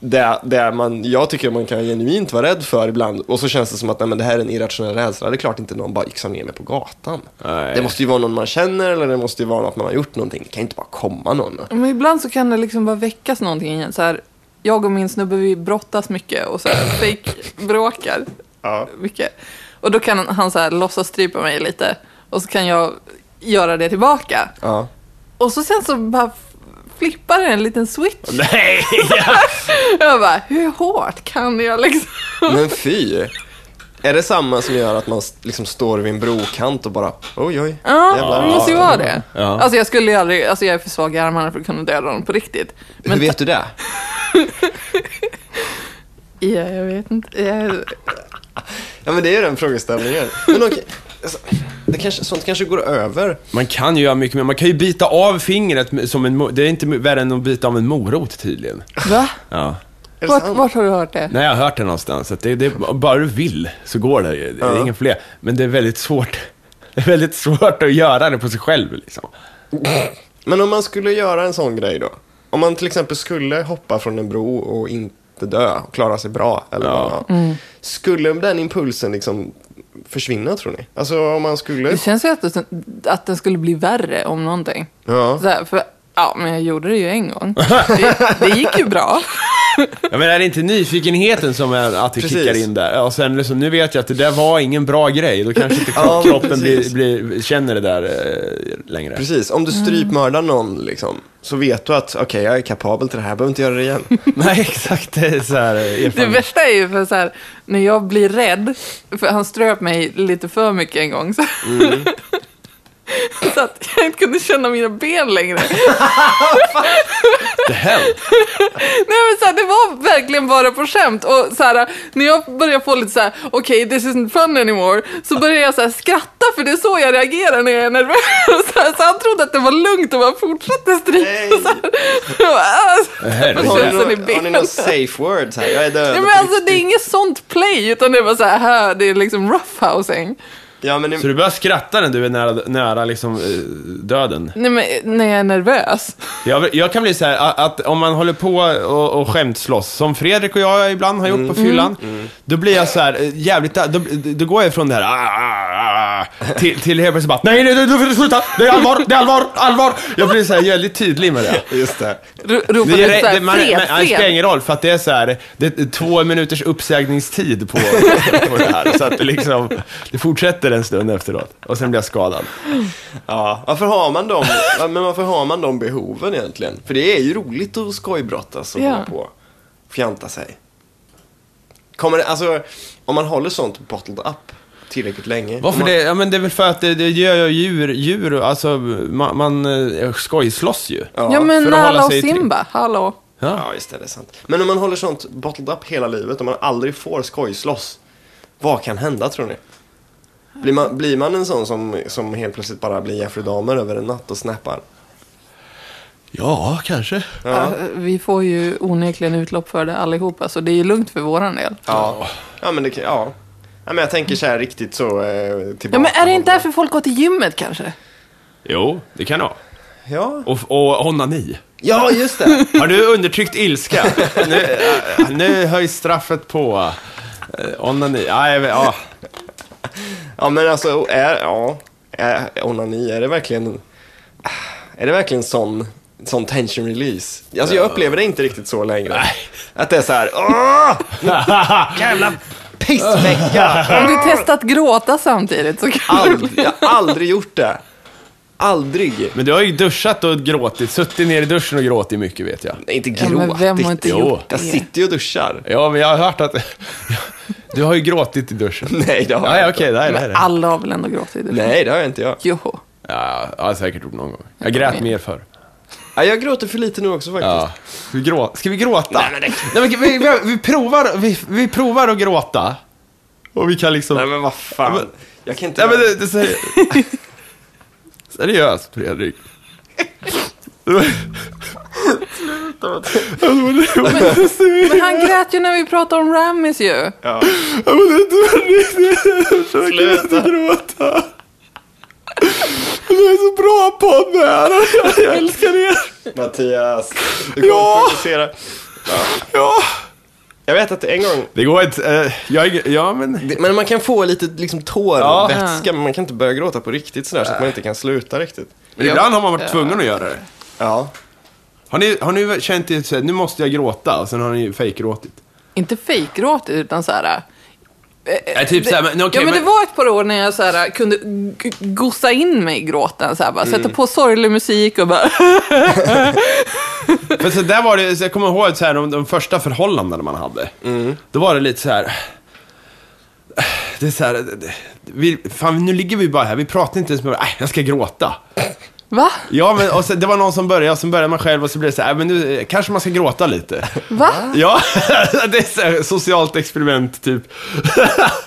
B: det, det man, jag tycker man kan genuint vara rädd för ibland. Och så känns det som att nej, men det här är en irrationell rädsla. Det är klart inte någon bara yxar ner mig på gatan.
C: Nej.
B: Det måste ju vara någon man känner eller det måste ju vara något man har gjort någonting. Det kan ju inte bara komma någon.
A: Men ibland så kan det liksom bara väckas någonting igen. Så här, jag och min snubbe vi brottas mycket och så här fake-bråkar
B: Ja.
A: mycket. Och då kan han så här låtsas strypa mig lite och så kan jag göra det tillbaka.
B: Ja.
A: Och så sen så bara flippar det en liten switch.
C: Nej!
A: Jag bara, hur hårt kan jag liksom?
B: Men fy! Är det samma som gör att man s- liksom står vid en brokant och bara oj oj?
A: Ja,
B: jävlar.
A: det måste ju vara det.
C: Ja.
A: Alltså jag skulle ju aldrig, alltså jag är för svag i armarna för att kunna döda honom på riktigt.
B: Hur vet du det?
A: Ja, jag vet inte. Jag...
B: Ja men det är ju den frågeställningen. Men okej, alltså, det kanske, sånt kanske går över.
C: Man kan ju göra mycket mer. Man kan ju bita av fingret med- som en mo- Det är inte värre än att bita av en morot tydligen.
A: Va?
C: Ja.
B: Är det
A: Vart,
B: sant?
A: vart har du hört det?
C: Nej, jag har hört det någonstans. Att det, det, bara du vill så går det. ju. Det är
B: Ja.
C: ingen fler. Men det är väldigt svårt. Det är väldigt svårt att göra det på sig själv liksom.
B: Men om man skulle göra en sån grej då? Om man till exempel skulle hoppa från en bro och inte dö och klara sig bra. Eller
C: Ja.
B: vad det
A: Mm.
B: var. Skulle den impulsen liksom försvinna tror ni? Alltså om man
A: Det
B: skulle...
A: känns ju att, det, att den skulle bli värre om någonting.
B: Ja.
A: Så här, för, ja, men jag gjorde det ju en gång. Det, det gick ju bra.
C: Ja, men är det inte nyfikenheten som är att det
B: Precis.
C: kickar in där? Och sen liksom, nu vet jag att det där var ingen bra grej. Då kanske inte
B: Ja,
C: kroppen blir,
B: precis.
C: blir, känner det där eh, längre.
B: Precis, om du
A: Mm.
B: strypmördar någon liksom, så vet du att okej, jag är kapabel till det här, jag behöver inte göra det igen.
C: Nej, exakt. Det är så här eh,
A: Det
C: erfarenhet.
A: värsta är ju för så här, när jag blir rädd, för han ströp mig lite för mycket en gång. Så,
B: Mm.
A: så att jag inte kunde känna mina ben längre.
C: Det här.
A: Nej, men så här, det var verkligen bara på skämt. Och så här, när jag börjar få lite så här, okej, this isn't fun anymore, så börjar jag så här, skratta för det är så jag reagerar när jag är nervös. Så, här, så han trodde att det var lugnt och bara fortsatte
B: Nej.
A: strypa. Så här. Jag bara, "Ah."
C: Herregud.
A: Och
B: Har ni,
A: sen så är det
B: några, har ni
A: ben.
B: några safe words här? Jag är död.
A: Nej,
B: på
A: men alltså, det är
B: riktigt.
A: inget sånt play, utan det var så här, här det är liksom roughhousing.
B: Ja, men det...
C: Så du börjar skratta när du är nära, nära liksom, eh, döden?
A: Nej, men eh, när jag är nervös.
C: Jag, jag kan bli så här, a- att om man håller på och, och skämtslåss, som Fredrik och jag ibland har gjort
B: Mm.
C: på fyllan, då blir jag så här, eh, jävligt, då, då går jag från det här, "Ah, ah, ah", till, till helt plötsligt bara, nej, nej, nej, du får sluta, det är allvar, det är allvar, allvar. Jag blir så här väldigt tydlig med det.
B: Just det.
A: Ro- Ropar
C: Det, är,
A: lite så här,
C: det, man,
A: fred,
C: man, det
A: fred.
C: spelar ingen roll, för att det är så här, det är två minuters uppsägningstid på, på det här. Så att det liksom, det fortsätter en stund efteråt, och sen blir jag skadad.
B: Ja, varför har man de, ja, men varför har man de behoven egentligen? För det är ju roligt att skojbrottas och
A: Ja.
B: hålla på och fjanta sig. Kommer det, alltså, om man håller sånt bottled up tillräckligt länge. om
C: Varför
B: man,
C: det? Ja, men det är väl för att det, det gör ju djur, djur och- alltså man, man eh, skojslåss ju.
A: Ja, men
C: för att hålla
A: Nala och
C: sig i trim.
A: Simba, hallå.
C: Ja.
B: Ja, just det, det är sant. Men om man håller sånt bottled up hela livet och man aldrig får skojslåss, vad kan hända tror ni? Blir man, blir man en sån som, som helt plötsligt bara blir Jeffrey Dahmer över en natt och snappar?
C: ja, kanske.
A: Ja, Vi får ju onekligen utlopp för det allihopa, så det är ju lugnt för våran del.
B: Ja, ja men det kan, ja. ja men jag tänker så här riktigt så eh, tillbaka.
A: Ja, men är det inte därför folk går till gymmet kanske?
C: Jo, det kan det vara.
B: Ja.
C: Och, och onani.
B: ja, just det.
C: Har du undertryckt ilska? nu, eh, nu höjs straffet på eh, onani. Ja, jag vet, ja.
B: Ja, men alltså, är, ja, är, onani, är det verkligen, är det verkligen sån, sån tension release? Alltså jag upplever det inte riktigt så längre. Att det är så här, åh, jävla pissvecka.
A: Om du testat gråta samtidigt så kan
B: Aldrig, jag har aldrig gjort det. Aldrig.
C: Men du har ju duschat och gråtit, suttit ner i duschen och gråtit mycket vet jag.
B: Nej, inte
A: Ja,
B: gråtit.
A: men vem har inte
C: Jo.
A: gjort
B: Jag
A: det?
B: sitter ju och duschar.
C: Ja, men jag har hört att... Du har ju gråtit i duschen.
B: Nej, det har
C: Ja,
B: jag
C: ja,
B: inte.
C: okej, det är det. är det.
A: Alla har väl ändå gråtit? eller?
B: Nej, det har jag inte jag.
A: Jo.
C: Ja, jag har säkert gjort någon gång. Jag grät mer förr.
B: Ja, jag gråter för lite nu också faktiskt.
C: Ja. Ska vi, grå... Ska vi gråta?
B: Nej, men det-
C: Nej, men vi, vi, vi, provar, vi, vi provar att gråta. Och vi kan liksom...
B: Nej, men vad fan.
C: Ja, men-
B: Jag kan inte...
C: Nej, men det, det säger... Seriöst, Fredrik.
A: Men han grät ju när vi pratade om Rammis ju.
B: Ja.
C: Sluta gråta. Det är så bra podd det här. Jag älskar er.
B: Mattias, du kommer
C: Ja!
B: provocera.
C: Ja.
B: Jag vet att en gång...
C: Det går inte. eh, Jag, är- ja, men...
B: Men man kan få lite liksom
C: Ja. Äh.
B: tårvätska, men man kan inte börja gråta på riktigt sådär så att man inte kan sluta riktigt.
C: men ibland har man varit tvungen att göra det.
B: Ja.
C: Har ni, har ni känt er såhär, nu måste jag gråta, och sen har ni fejkgråtit?
A: Inte fejkgråtit utan så här.
C: Nej, typ såhär, men okej,
A: ja, men det
C: men-
A: var ett par år när jag så här, kunde g- gossa in mig i gråten. Så här, bara,
C: Mm.
A: Sätta på sorglig musik och bara...
C: För så där var det, så jag kommer ihåg så här, de, de första förhållandena man hade. Då var det lite så här. Det är så här, det- vi, fan nu ligger vi bara här, vi pratar inte ens med varandra, Äh, jag ska gråta.
A: Va?
C: Ja, men och så, det var någon som började, och sen började man själv och så blev det så här, äh, men nu eh, kanske man ska gråta lite.
A: Va?
C: Ja, det är så här, socialt experiment typ.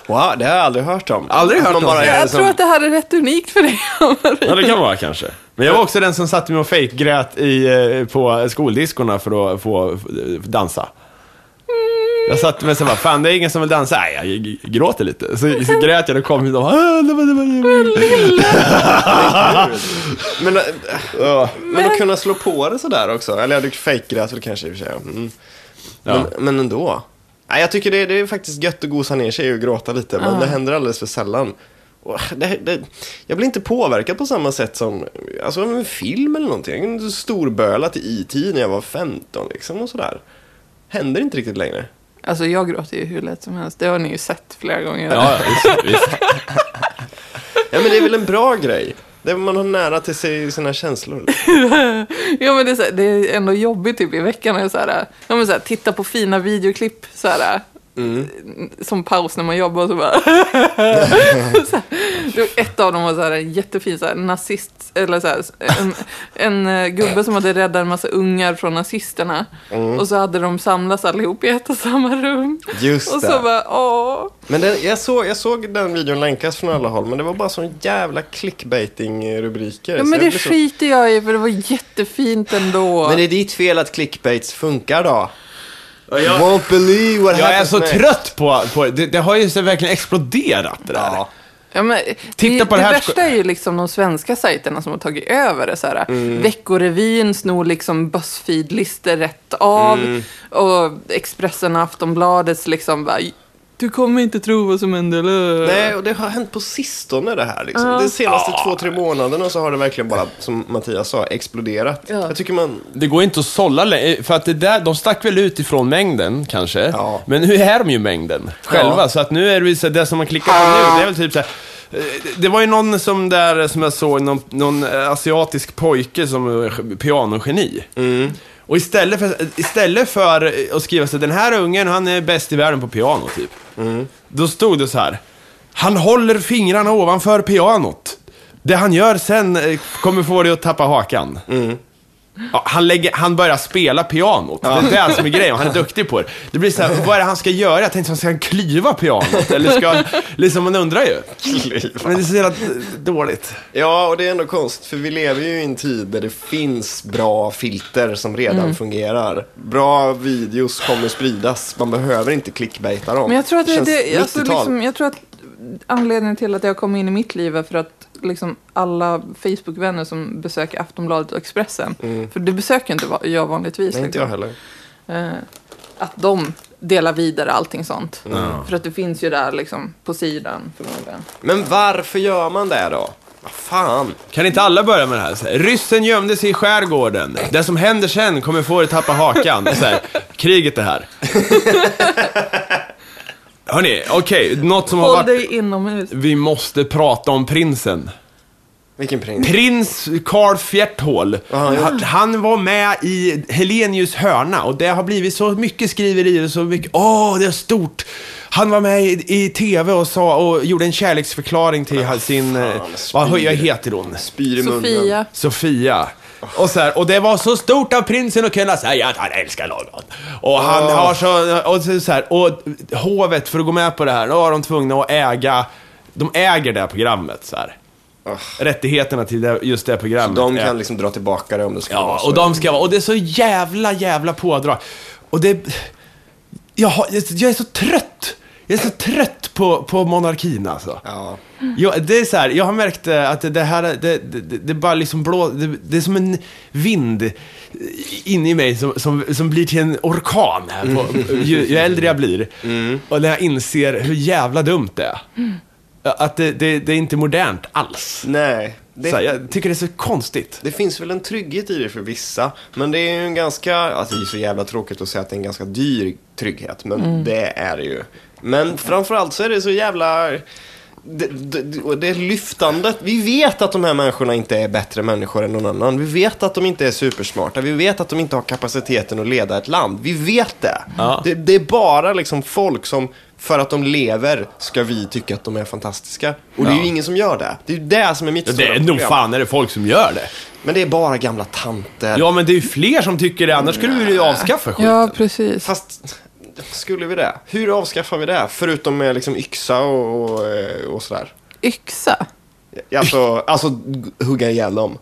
B: Wow, det har jag aldrig hört om.
C: Aldrig hört
B: Att man
C: om.
B: bara
C: Jag
B: är liksom-
A: Jag
B: som-
A: tror att det här är rätt unikt för dig.
C: Ja, det kan vara kanske. Men jag var också den som satte mig och fejkgrät i, eh, på skoldiskorna för att få eh, dansa. Jag satt mig och bara, fan det är ingen som vill dansa. Nej, jag g- gråter lite. Så, så grät jag och kom hit och bara, "Ah, det var, det var, det
B: Men, äh,
C: var.
B: men att kunna slå på det sådär också. Eller jag fejkgrät väl kanske i och för sig. Mm.
C: Ja.
B: Men, men ändå. Nej, jag tycker det, det är faktiskt gött att gosa ner sig och gråta lite, men det händer alldeles för sällan. Och Det, det, jag blir inte påverkad på samma sätt som alltså, av en film eller någonting. Jag kunde storböla till IT när jag var 15 liksom och sådär. Händer inte riktigt längre.
A: Alltså jag gråter ju hur lätt som helst. Det har ni ju sett flera gånger.
C: Ja, visst, visst.
B: Ja, men det är väl en bra grej. Det är, man har nära till sig sina känslor.
A: Ja, men det, är så här, det är ändå jobbigt typ i veckan. När jag så här, ja, men så här, titta på fina videoklipp så här,
B: Mm.
A: som paus när man jobbar. Så bara, så här, det var ett av dem var så här, en jättefin så här, nazist, eller så här, en, en eh, gubbe som hade räddat en massa ungar från nazisterna.
B: Mm.
A: Och så hade de samlats allihop i ett och samma rum.
B: Just
A: och så
B: det.
A: bara, åh.
B: Men den, jag, såg, jag såg den videon länkas från alla håll, men det var bara sån jävla clickbaiting-rubriker.
A: Ja,
B: så
A: men
B: jag
A: det
B: blev så-
A: skiter jag i för det var jättefint ändå.
B: Men det är ditt fel att clickbaits funkar då.
C: jag-
B: Won't believe what
C: Jag är
B: happens
C: så
B: next.
C: trött på, på det, det har ju så verkligen exploderat det där.
B: Ja.
A: Ja, men,
C: Titta
A: det,
C: på det här-
A: värsta är ju liksom de svenska sajterna som har tagit över det. Så här,
B: Mm.
A: Veckorevyn snor liksom Buzzfeed-listor rätt av.
B: Mm.
A: Och Expressen och Aftonbladets liksom bara, du kommer inte tro vad som hände. eller?"
B: Nej, och det har hänt på sistone det här. Liksom. De senaste
C: Ah.
B: två, tre månaderna så har det verkligen bara, som Mattias sa, exploderat.
A: Ja.
B: Jag tycker man...
C: Det går inte att sålla längre, för att det där, de stack väl ut ifrån mängden kanske.
B: Ja.
C: Men nu är de ju mängden själva,
B: Ja. Ah.
C: så att nu är det ju så här, det som man klickar på nu, det är väl typ så här. eh, Det var ju någon som där, som jag såg, någon, någon eh, asiatisk pojke som eh, pianogeni.
B: Mm.
C: Och istället för, istället för eh, att skriva så här, den här ungen, han är bäst i världen på piano typ.
B: Mm.
C: Då stod det så här, han håller fingrarna ovanför pianot. Det han gör sen eh, kommer få dig att tappa hakan.
B: Mm.
C: Ja, han, lägger, han börjar spela pianot. Det är det som är grejen. Han är duktig på det. Det blir så här, vad är det han ska göra? Jag tänkte, ska han klyva pianot? Eller ska han, liksom, man undrar ju. Men det är så jävla dåligt.
B: Ja, och det är ändå konst, för vi lever ju i en tid där det finns bra filter som redan
A: Mm.
B: fungerar. Bra videos kommer spridas, man behöver inte clickbaita dem.
A: Men jag tror att det,
B: känns
A: det alltså,
B: 90-tal.
A: liksom, jag tror att anledningen till att jag kom in i mitt liv är för att liksom alla Facebook-vänner som besöker Aftonbladet och Expressen, för det besöker inte va- jag vanligtvis.
B: Mm. Nej, inte
A: liksom.
B: jag heller.
A: Eh, att de delar vidare allting sånt. För att det finns ju där liksom på sidan. förmodligen.
B: Men varför gör man det då? Vad fan?
C: Kan inte alla börja med det här? Så här? Ryssen gömde sig i skärgården. Det som händer sen kommer få dig att tappa hakan. Så här, kriget är här. Hörni, okej, något som har
A: Håll
C: varit...
A: dig inomhus.
C: Vi måste prata om prinsen.
B: Vilken prins?
C: Prins Carl Fjerthol.
B: Ja, ja.
C: Han- Han var med i Helenius hörna och det har blivit så mycket skriverier och så mycket, åh, det är stort. Han var med i, i tv och, sa, och gjorde en kärleksförklaring till sin, eh, vad
B: spyr.
C: jag heter hon?
B: Spyr i munnen.
A: Sofia.
C: Sofia. Och, så här, och det var så stort av prinsen att kunna säga att han älskar någon. Och han
B: Ah.
C: har så, och så, så här, och hovet, för att gå med på det här, då var de tvungna att äga, de äger det här programmet så här. Rättigheterna till det, just det här programmet.
B: De
C: är-
B: kan liksom dra tillbaka det om det skulle vara
C: Ja,
B: så.
C: och de ska vara, och det är så jävla, jävla pådrag. Och det, jag, har, jag, jag är så trött. Jag är så trött på, på monarkin alltså.
B: Ja.
C: Ja, det är så här, jag har märkt eh, att det här, det, det, det, det bara liksom blå, det, det är som en vind inne i mig som, som, som blir till en orkan här på, ju, ju äldre jag blir.
B: Mm.
C: Och när jag inser hur jävla dumt det är. Att det, det, det är inte modernt alls.
B: Nej. Det,
C: Så här, jag tycker det är så konstigt.
B: det finns väl en trygghet i det för vissa. Men det är ju en ganska, alltså det är så jävla tråkigt att säga att det är en ganska dyr trygghet. Men
C: Mm.
B: det är det ju. Men framförallt så är det så jävla, det, det, och det lyftandet. Vi vet att de här människorna inte är bättre människor än någon annan. Vi vet att de inte är supersmarta. Vi vet att de inte har kapaciteten att leda ett land. Vi vet det.
C: Ja.
B: Det, det är bara liksom folk som, för att de lever, ska vi tycka att de är fantastiska. Och det är
C: Ja.
B: ju ingen som gör det. Det är ju det som är mitt
C: Det
B: stora
C: är nog
B: problem.
C: fan är det folk som gör det.
B: Men det är bara gamla tanter.
C: Ja, men det är ju fler som tycker det, annars skulle vi ju avskaffa skiten.
A: Ja, precis.
B: Fast, skulle vi det? Hur avskaffar vi det? Förutom med liksom yxa och, och, eh, och sådär.
A: Yxa.
B: Alltså, alltså g- hugga ihjäl dem.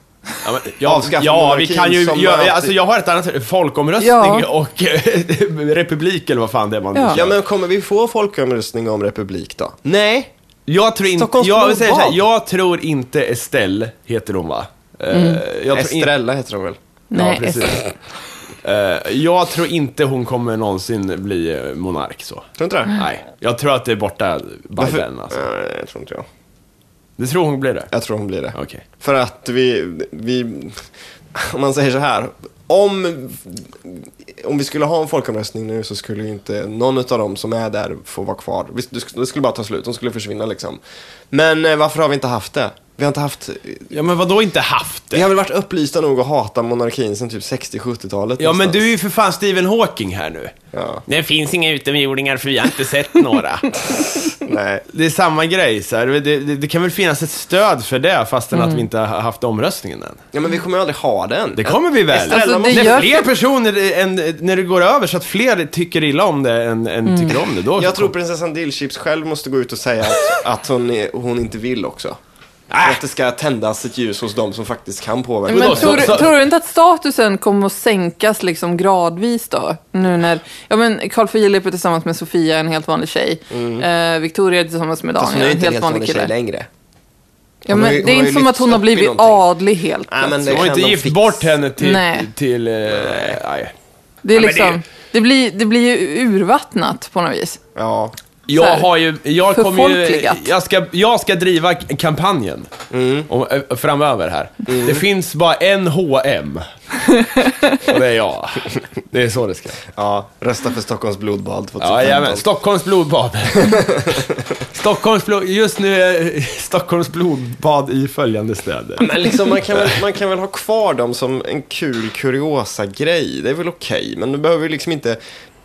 C: Ja, men,
B: Avskaffa
C: ja vi
B: monarkin
C: kan ju,
B: som
C: jag,
B: alltid-
C: alltså jag har ett annat, folkomröstning
A: Ja.
C: och republik eller vad fan det är man
A: Ja.
B: Ja, men kommer vi få folkomröstning om republik då? Nej.
C: Jag tror inte,
B: Stockholms
C: jag, vill säga så här,
B: blodbad.
C: jag tror inte Estelle heter hon va? Mm. Jag tror in-
B: Estrella heter hon väl?
C: Ja,
A: Nej,
C: precis.
A: Estelle.
C: Eh, jag tror inte hon kommer någonsin bli eh, monark så.
B: Tror inte det?
C: Nej, jag tror att det är borta by
B: Varför-
C: then alltså.
B: Nej, jag tror inte jag.
C: Du tror hon blir det?
B: Jag tror hon blir det.
C: Okej.
B: För att vi, vi, om man säger så här, om, om vi skulle ha en folkomröstning nu så skulle ju inte någon av dem som är där få vara kvar. Vi- Det sk- det skulle bara ta slut, de skulle försvinna liksom. Men eh, varför har vi inte haft det? Vi har inte haft,
C: Ja men vadå inte haft
B: vi
C: det?
B: har väl varit upplysta nog att hata monarkin sedan typ 60-70-talet
C: Ja men
B: någonstans.
C: du är ju för fan Stephen Hawking här nu.
B: Ja,
C: Det finns inga utomjordingar för vi har inte sett några.
B: nej.
C: Det är samma grej, så här. Det, det, det kan väl finnas ett stöd för det fastän att vi inte har haft omröstningen än.
B: Ja men vi kommer ju aldrig ha den.
C: Det kommer vi väl?
B: Estrella
A: Alltså, det
B: måste-
C: när
A: gör-
C: fler personer, än, när det går över så att fler tycker illa om det än, än tycker om det, då...
B: Jag tror prinsessan Dillchips själv måste gå ut och säga att, att hon, är, hon inte vill också.
C: Äh.
B: Att det ska tändas ett ljus hos de som faktiskt kan påverka. Alltså,
A: Men
C: då, så-
A: tror, du-
C: så-
A: tror du inte att statusen kommer att sänkas liksom gradvis då? Nu när, ja men Carl Philip är tillsammans med Sofia, en helt vanlig tjej.
C: Mm.
A: Eh, Victoria är tillsammans med
B: Fast
A: Daniel,
B: alltså, hon är ju
A: en
B: inte
A: helt vanlig
B: tjej
A: kille.
B: längre.
A: Ja,
B: Hon
A: men
B: har ju-
A: det är
B: hon har
A: inte
B: ju
A: som att
B: lyfts
A: hon har
B: upp i
A: blivit
B: någonting.
A: adlig helt
B: Nej, men
A: plötsligt.
C: Jag Ah, har
B: kan
C: inte
B: de
C: gift
B: fixa.
C: bort henne till...
A: Nej.
C: till eh, nej.
A: Det, är
C: Ja, men det är-
A: liksom, det... blir, det blir ju urvattnat på något vis.
B: Ja.
C: Jag
A: här,
C: har ju... Jag kommer ju...
A: förfolkligat.
C: Jag ska, jag ska driva k- kampanjen
B: Mm.
C: om, eh, framöver här. Det finns bara en H&M Och det är jag. Det är så det ska.
B: ja, rösta för Stockholms blodbad 2015.
C: Jajamän, Stockholms blodbad. Stockholms blod, just nu är Stockholms blodbad i följande städer.
B: men liksom, man, kan väl, man kan väl ha kvar dem som en kul kuriosa-grej. Det är väl okej, men du behöver ju liksom inte...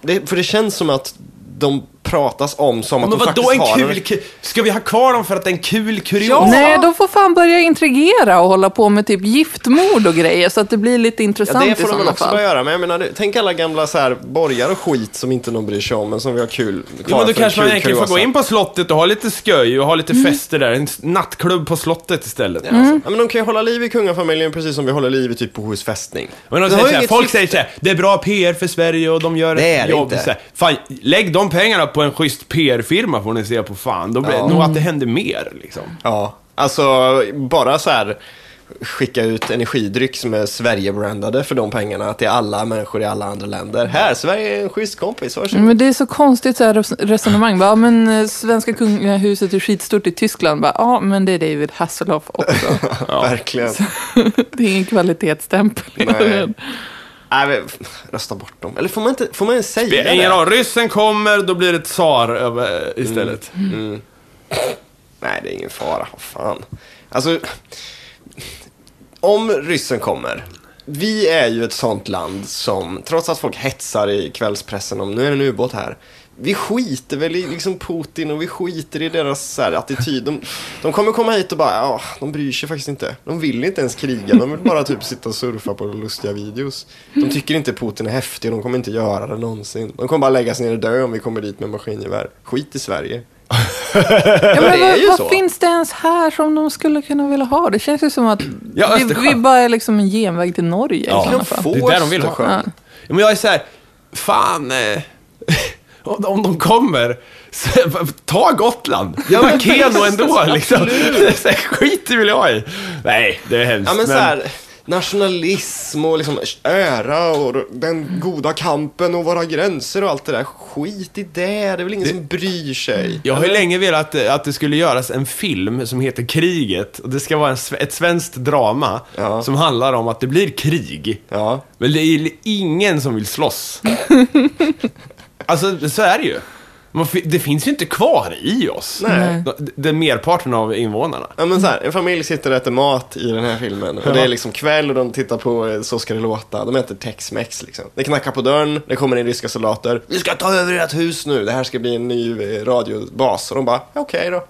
B: Det, för det känns som att de pratas om som att
C: Men
B: de faktiskt
C: vadå en
B: har
C: kul ku- Ska vi ha kvar dem för att det är en kul kuriosa?
B: Ja.
A: Nej, de får fan börja intrigera och hålla på med typ giftmord och grejer så att det blir lite
B: Ja,
A: intressant
B: det
A: i
B: får de väl
A: sådana
B: också
A: fall.
B: börja göra, men jag menar, du- tänk alla gamla så här borgar och skit som inte någon bryr sig om, men som vi har kul kvar
C: Ja, men då
B: för en
C: kanske man
B: kul
C: egentligen får
B: kuriosa.
C: gå in på slottet och ha lite sköj och ha lite
A: Mm.
C: fester där. En s- nattklubb på slottet istället.
B: Ja, men de kan ju hålla liv i kungafamiljen precis som vi håller liv i typ Bohus fästning.
C: Men de
B: Det har
C: säger
B: ju
C: så här,
B: inget
C: folk
B: syfte.
C: säger såhär, det är bra PR för Sverige och de gör
B: Det är
C: ett
B: det
C: jobb.
B: inte.
C: Så här, fan, lägg de pengarna på en schysst PR-firma får ni se på fan. Då blir
B: Ja.
C: nog att det händer mer liksom.
B: Ja, alltså bara så här skicka ut energidryck som är Sverige-brandade för de pengarna till alla människor i alla andra länder. Här, Sverige är en schysst kompis, varsågod.
A: Men det är så konstigt så här res- resonemang. Bara, ja, men eh, svenska kungahuset är skitstort i Tyskland. Bara, ja, men det är David Hasselhoff också.
B: Verkligen.
A: det är ingen kvalitetsstämpel.
B: Nej. Nej, men, rösta bort dem. Eller får man, inte, får man ens säga
C: Det
B: det?
C: är ingen aning. Ryssen kommer, då blir det tsar över- eh,
B: Mm.
C: istället.
B: Nej, det är ingen fara. Vad fan. Alltså, om ryssen kommer. Vi är ju ett sånt land som, trots att folk hetsar i kvällspressen om nu är det en ubåt här. Vi skiter väl i liksom Putin och vi skiter i deras så här, attityd. De, de kommer komma hit och bara, ja, de bryr sig faktiskt inte. De vill inte ens kriga, de vill bara typ sitta och surfa på lustiga videos. De tycker inte Putin är häftig, de kommer inte göra det någonsin. De kommer bara läggas ner och dö om vi kommer dit med maskingevär. Skit i Sverige.
A: Ja, men
B: Det är ju
A: vad,
B: så.
A: vad finns det ens här som de skulle kunna vilja ha? Det känns ju som att
C: Ja,
A: vi,
C: Östersjön.
A: vi bara är liksom en genväg till Norge i sådana
B: De
A: fall.
B: får
C: Det är där de vill ha.
B: Östersjön.
A: Ja.
C: Ja, men jag är så här, fan, eh, om, om de kommer, så, ta Gotland. Göra Keno ändå liksom. Så här, skit i vill jag ha i. Nej, det är hemskt.
B: Ja men, så här, nationalism och liksom ära och den goda kampen och våra gränser och allt det där. Skit i det, det är väl ingen som bryr sig.
C: Jag har ju länge velat eh, att, att det skulle göras en film som heter Kriget. Och det ska vara en, sve- ett svenskt drama
B: Ja.
C: som handlar om att det blir krig.
B: Ja.
C: Men det är ingen som vill slåss. alltså, så är det ju. Man, fi- det finns ju inte kvar i oss.
B: Nej.
C: Den- Den merparten av invånarna.
B: Ja, men så här, en familj sitter och äter mat i den här filmen. Och det är liksom kväll och de tittar på eh, Så ska det låta. De äter Tex-Mex liksom. Det knackar på dörren, det kommer in ryska soldater. Vi ska ta över ert hus nu, det här ska bli en ny eh, radiobas. Och de bara, "Ja, okej då.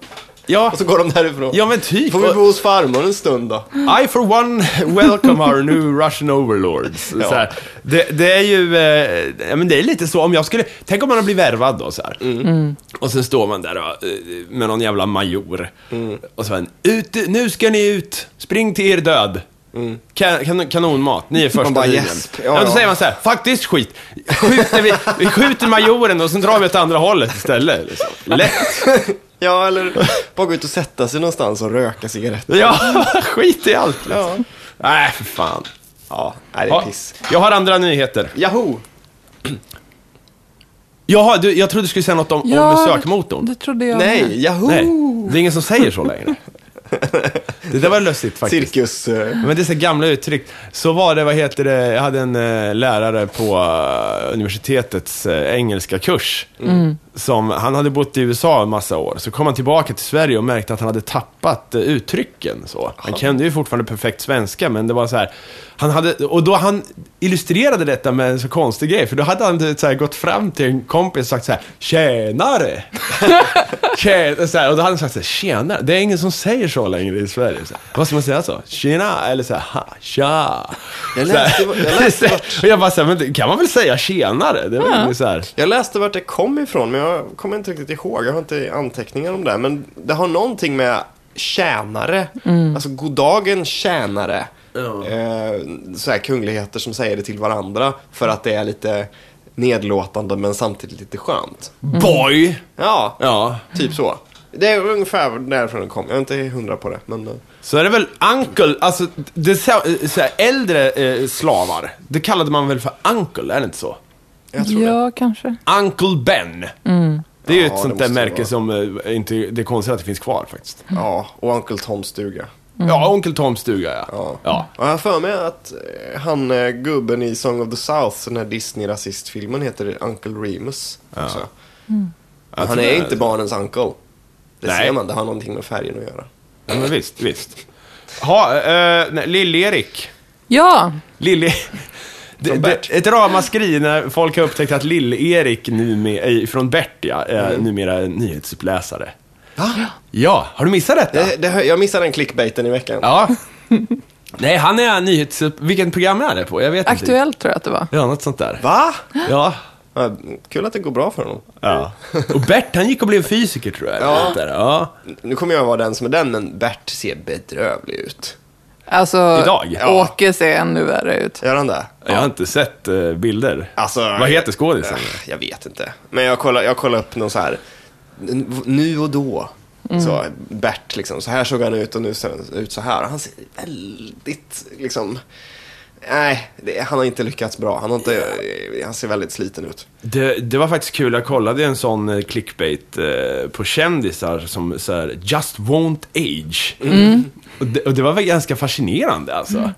C: Ja,
B: Och så går de därifrån.
C: ja men typ.
B: Alltså, Får vi bo hos farmor en stund då?
C: I for one welcome our new Russian overlords.
B: Ja.
C: Så här, det, det är ju, eh, ja, men det är lite så om jag skulle, tänk om man blir värvad då så här.
B: Mm.
C: Mm. Och sen står man där och, eh, med någon jävla major.
B: Mm.
C: Och sen, ut, nu ska ni ut, spring till er död. Kan, kan, kanonmat, ni är första
B: Mm. bara,
C: linjen.
B: "Yes." Ja,
C: ja, då
B: ja.
C: säger man så här, faktiskt skit. Skjuter vi, vi skjuter majoren och sen drar vi åt andra hållet istället. Liksom. Lätt.
B: Ja, eller bara gå ut och sätta sig någonstans och röka cigaretter.
C: Ja, skit i allt. Liksom.
B: Ja.
C: Nej, för fan.
B: Ja, nej, det är
C: Ja,
B: piss.
C: jag har andra nyheter.
B: Yahoo!
C: Jaha, du, jag trodde du skulle säga något om, om sökmotorn.
A: Det, det trodde jag med.
B: Nej, Yahoo!
C: Nej, det är ingen som säger så längre. Det där var lustigt faktiskt.
B: Cirkus. eh,
C: Men det är så gamla uttryck. Så var det, vad heter det, jag hade en eh, lärare på eh, universitetets eh, engelska kurs. Som, han hade bott i USA en massa år, så kom han tillbaka till Sverige och märkte att han hade tappat eh, uttrycken. Så. Han kände ju fortfarande perfekt svenska, men det var så här, han hade, och då han illustrerade detta med en så konstig grej, för då hade han eh, så här, gått fram till en kompis och sagt så här, tjenare! Tjena, så här, och då hade han sagt så här, tjena. Det är ingen som säger så längre i Sverige. Så här, vad ska man säga så? Tjena, eller så här, ha, tja.
B: Jag
C: Så här.
B: läste- jag läste vart-
C: och jag bara så här, men det kan man väl säga tjenare? Det är väl ingen så här.
B: Jag läste vart det kom ifrån, men jag kommer inte riktigt ihåg. Jag har inte anteckningar om det. Men det har någonting med tjänare. Alltså, goddagen tjänare. Eh, så här kungligheter som säger det till varandra för att det är lite nedlåtande men samtidigt lite skönt.
C: Boy!
B: Ja,
C: Ja.
B: typ så. Det är ungefär därifrån det kom. Jag är inte hundra på det, men... eh,
C: Så är det väl uncle, alltså det, är så, så här, äldre eh, slavar, det kallade man väl för uncle, är det inte så?
B: Jag tror det.
A: Ja, kanske.
C: Uncle Ben. Det är ju
B: Ja,
C: ett
B: det
C: sånt där
B: måste det
C: märke
B: vara.
C: som eh, inte, det är konstigt att det finns kvar faktiskt.
B: Ja, och Uncle Toms stuga.
C: Ja, Onkel Toms stuga ja.
B: Ja.
C: ja.
B: Och jag har för mig att eh, han eh, gubben i Song of the South, den här Disney-rasistfilmen, heter Uncle Remus. Också.
C: Mm.
B: Men Han
C: tror
B: är
C: det.
B: inte barnens uncle. Det
C: Nej.
B: ser man, det har någonting med färgen att göra.
C: Ja, men visst, visst. Ha, eh, nej, Lill-Erik.
A: Ja,
C: Lill det, det,
B: Bert.
C: ett ramaskri när folk har upptäckt att Lill-Erik nume- eh, från Bert, ja, eh,
B: Mm.
C: numera är nyhetsuppläsare. Ja, har du missat detta?
B: Det, det, hör- jag missade den clickbaiten i veckan.
C: Ja. Nej, han är nyhets... Vilken program är det på? Jag vet inte.
A: Aktuellt tror jag att det var.
C: Ja, något sånt där.
B: Va?
C: Ja.
B: Ja, kul att det går bra för honom.
C: ja. Och Bert, han gick och blev fysiker tror jag.
B: Ja.
C: eller något Där. ja.
B: Nu kommer jag vara den som är den, men Bert ser bedrövlig ut.
A: Alltså,
C: Idag? Ja.
A: Åke ser ännu värre ut.
B: Gör han det?
C: Jag har inte sett eh, bilder.
B: Alltså,
C: Vad heter skådisen?
B: Äh, Jag vet inte. Men jag kollade, jag kollade upp någon så här, n- nu och då. Så Bert, liksom, så här såg han ut och nu ser han ut så här. Han ser väldigt, liksom, nej, det, han har inte lyckats bra. Han, har inte, eh, han ser väldigt sliten ut.
C: Det, det var faktiskt kul, jag kollade en sån eh,
B: Mm.
C: clickbait eh, på kändisar som så här, just won't age. Och det, och det var väl ganska fascinerande alltså.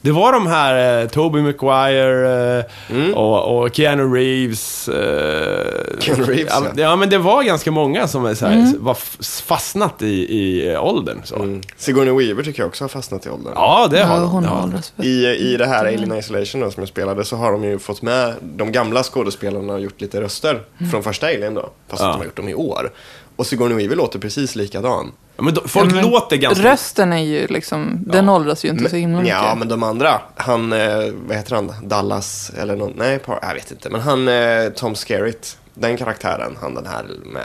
C: Det var de här eh, Tobey Maguire eh,
B: Mm.
C: och, och Keanu Reeves. Eh,
B: Keanu Reeves,
C: ja.
B: ja. Mm.
C: ja. men det var ganska många som är så här, var f- fastnat i, i eh, åldern. Så.
B: Sigourney Weaver tycker jag också har fastnat i åldern.
C: Ja, det har
A: Ja,
C: de.
A: hon
C: Det har
A: har
C: de.
A: åldrats för.
B: I, eh, I det här Alien Isolation då, som jag spelade så har de ju fått med de gamla skådespelarna och gjort lite röster från första Alien då. Fast
C: Ja.
B: att de har gjort dem i år. Och Sigourney Weaver låter precis likadan.
C: Ja, men de, folk
A: Men
C: låter ganska...
A: Rösten är ju liksom, den åldras ju inte så himla mycket.
B: Ja, men de andra. Han, eh, vad heter han? Dallas eller någon, nej, par, jag vet inte. Men han, eh, Tom Skerritt, den karaktären, han den här med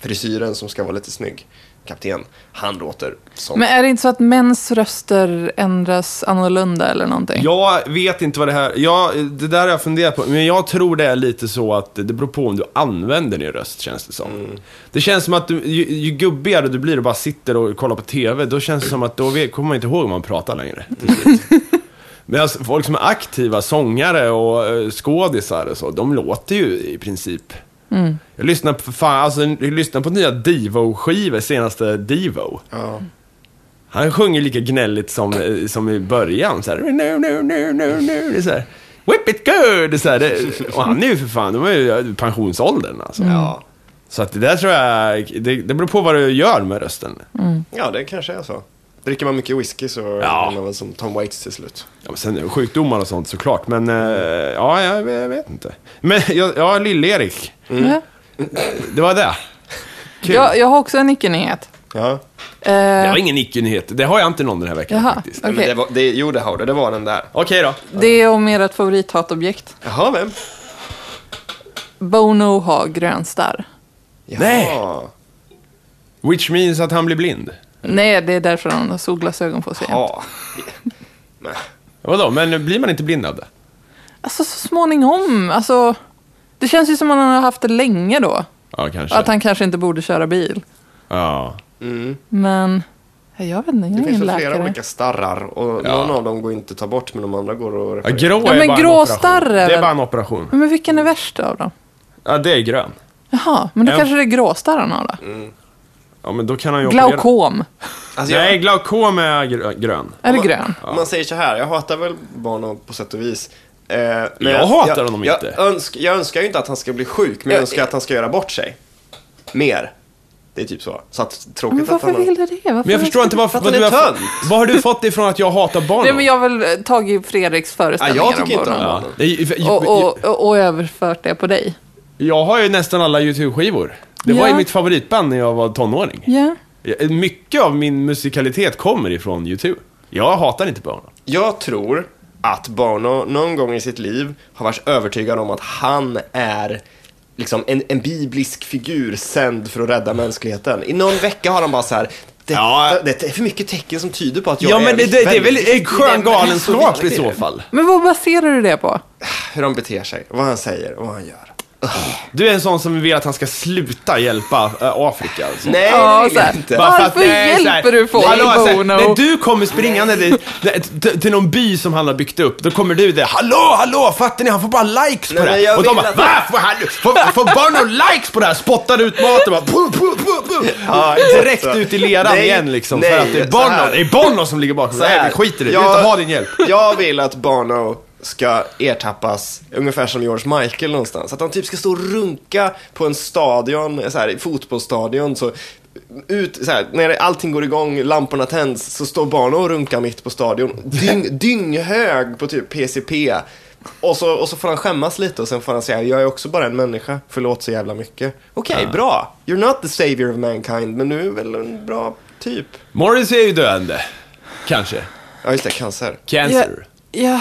B: frisyren som ska vara lite snygg, kapten. Han låter som...
A: Men är det inte så att mäns röster ändras annorlunda eller någonting?
C: Jag vet inte vad det här... Ja, det där har jag funderat på. Men jag tror det är lite så att det beror på om du använder din röst, känns det som. Det känns som att du, ju, ju gubbigare du blir och bara sitter och kollar på TV, då känns det som att då vet, kommer man inte ihåg vad man pratar längre. till slut. Medan folk som är aktiva, sångare och eh, skådisar och så, de låter ju i princip... Jag lyssnar på, fan, alltså, jag lyssnar på nya Divo-skivor, senaste Divo.
B: Ja.
C: Han sjunger lika gnälligt som, eh, som i början. Så här, no, no, no, no, no. Det är så här, Whip it good! Det är Så här, det, och han är ju för fan, de är ju pensionsåldern alltså.
B: Ja.
C: Så att det där tror jag, det, det beror på vad du gör med rösten.
B: ja, det kanske är så. Dricker man mycket whisky så
C: Ja.
B: blir man väl som Tom Waits till slut.
C: Ja, men sen sjukdomar och sånt såklart, men eh, ja, jag, jag vet inte. Men ja, ja Lill-Erik,
A: Ja.
C: det var det. Mm. Kul.
A: Mm. Jag, jag har också en icke-nyhet.
B: Ja.
A: Eh,
C: Det var ingen icke-nyhet, det har jag inte någon den här veckan
A: Jaha,
C: faktiskt.
A: okej.
B: Men det var, det, jo, det har du. Det var den där.
C: Okej då.
A: Det är om ert favorithatobjekt.
B: Jaha, vem?
A: Bono har grönstarr.
B: Jaha.
C: Nej. Which means att han blir blind.
A: Nej, det är därför han har solglasögon på sig.
B: Ja. Men-
C: Vadå, men blir man inte blind av det?
A: Alltså så småningom. Alltså, det känns ju som att han har haft det länge då.
C: Ja, kanske.
A: Att han kanske inte borde köra bil.
C: Ja.
A: Men jag vet inte, jag
B: Det
A: är
B: finns
A: ingen
B: väl flera
A: läkare.
B: olika starrar och
C: Ja.
B: någon av dem går inte att ta bort men de andra går att
C: Ja,
B: reparera.
C: grå
A: Ja,
C: är
A: men
C: bara
A: grå
C: en operation.
A: starr är
C: Det är
A: väl-
C: bara en operation.
A: Men vilken är värst av dem?
C: Ja, det är grön.
A: Jaha, men då
C: Ja. Mm.
A: kanske det är gråstarren har då?
C: Ja, men då kan han ju operera.
A: Glaukom.
B: Alltså,
C: Nej,
B: jag,
C: glaukom är grö- grön.
A: Är det
B: Om man-
A: grön?
B: om man säger så här, jag hatar väl Bono på sätt och vis. Eh, men
C: Jag hatar honom
B: jag,
C: inte.
B: Jag, önsk, jag önskar ju inte att han ska bli sjuk, men jag
A: Jag-
B: önskar att han ska göra bort sig. Mer. Det är typ så. Så att, tråkigt
A: Men
B: att
A: varför
B: han...
A: vill du det? Varför
C: Men jag förstår inte
A: varför...
C: varför,
B: För att han
C: vad, du
B: är
C: har,
B: tönt.
C: vad har du fått det ifrån att jag hatar barn?
A: Nej, men jag har väl eh, tagit Fredriks föreställningar
B: Ja, jag tycker
A: om
B: inte om
A: Bono.
B: honom.
C: ja. jag,
A: Och, och, och, och överfört det på dig.
C: jag har ju nästan alla YouTube-skivor. Det var
A: Ja.
C: ju mitt favoritband när jag var tonåring.
A: Ja.
C: Jag- Mycket av min musikalitet kommer ifrån YouTube. Jag hatar inte barn.
B: Jag tror att Bono någon gång i sitt liv har varit övertygad om att han är liksom en, en biblisk figur sänd för att rädda mänskligheten. I någon vecka har han bara så här. Det,
C: Ja.
B: det, det är för mycket tecken som tyder på att jag
C: Ja,
B: är
C: men det, det, det är väl
B: väldigt
C: en
B: viktig.
C: skön
B: Det är väldigt
C: galenskap i
B: viktigt.
C: så fall.
A: Men vad baserar du det på?
B: Hur han beter sig, vad han säger och vad han gör.
C: Du är en sån som vill att han ska sluta hjälpa äh, Afrika. Alltså.
B: Nej,
A: Ja,
B: det vill
A: så här.
B: jag inte.
A: Bara-
C: för
A: Varför
C: att det är så här-
A: hjälper du folk,
C: Hallå, alltså,
A: Bono?
C: När du kommer springande dit, till, till någon by som han har byggt upp, då kommer du där. Hallå, hallå, fattar ni? Han får bara likes på
B: Nej,
C: det
B: men jag
C: här. Och de
B: vill
C: bara,
B: att-
C: va? Får, han- får, får Bono likes på det här? Spottar ut maten bara, puh, puh, puh, puh.
B: Ja,
C: Direkt
B: så.
C: ut i leran
B: Nej,
C: igen liksom.
B: nej,
C: för att det är
B: så
C: Bono,
B: här.
C: det är Bono som ligger bakom.
B: Så
C: Nej,
B: här.
C: vi skiter i det. Vi vill
B: Jag-
C: inte ha din hjälp.
B: Jag vill att Bono ska ertappas ungefär som George Michael någonstans. Att han typ ska stå och runka på en stadion, så här, fotbollsstadion. Så ut, så här, när allting går igång, lamporna tänds, så står Bono och runkar mitt på stadion. Dyng, dynghög på typ PCP. Och så, och så får han skämmas lite och sen får han säga jag är också bara en människa, förlåt så jävla mycket. Okej, bra. You're not the savior of mankind, men du är väl en bra typ.
C: Morris är ju döende. Kanske.
B: Ja, just det, cancer.
C: Cancer.
A: Ja, ja.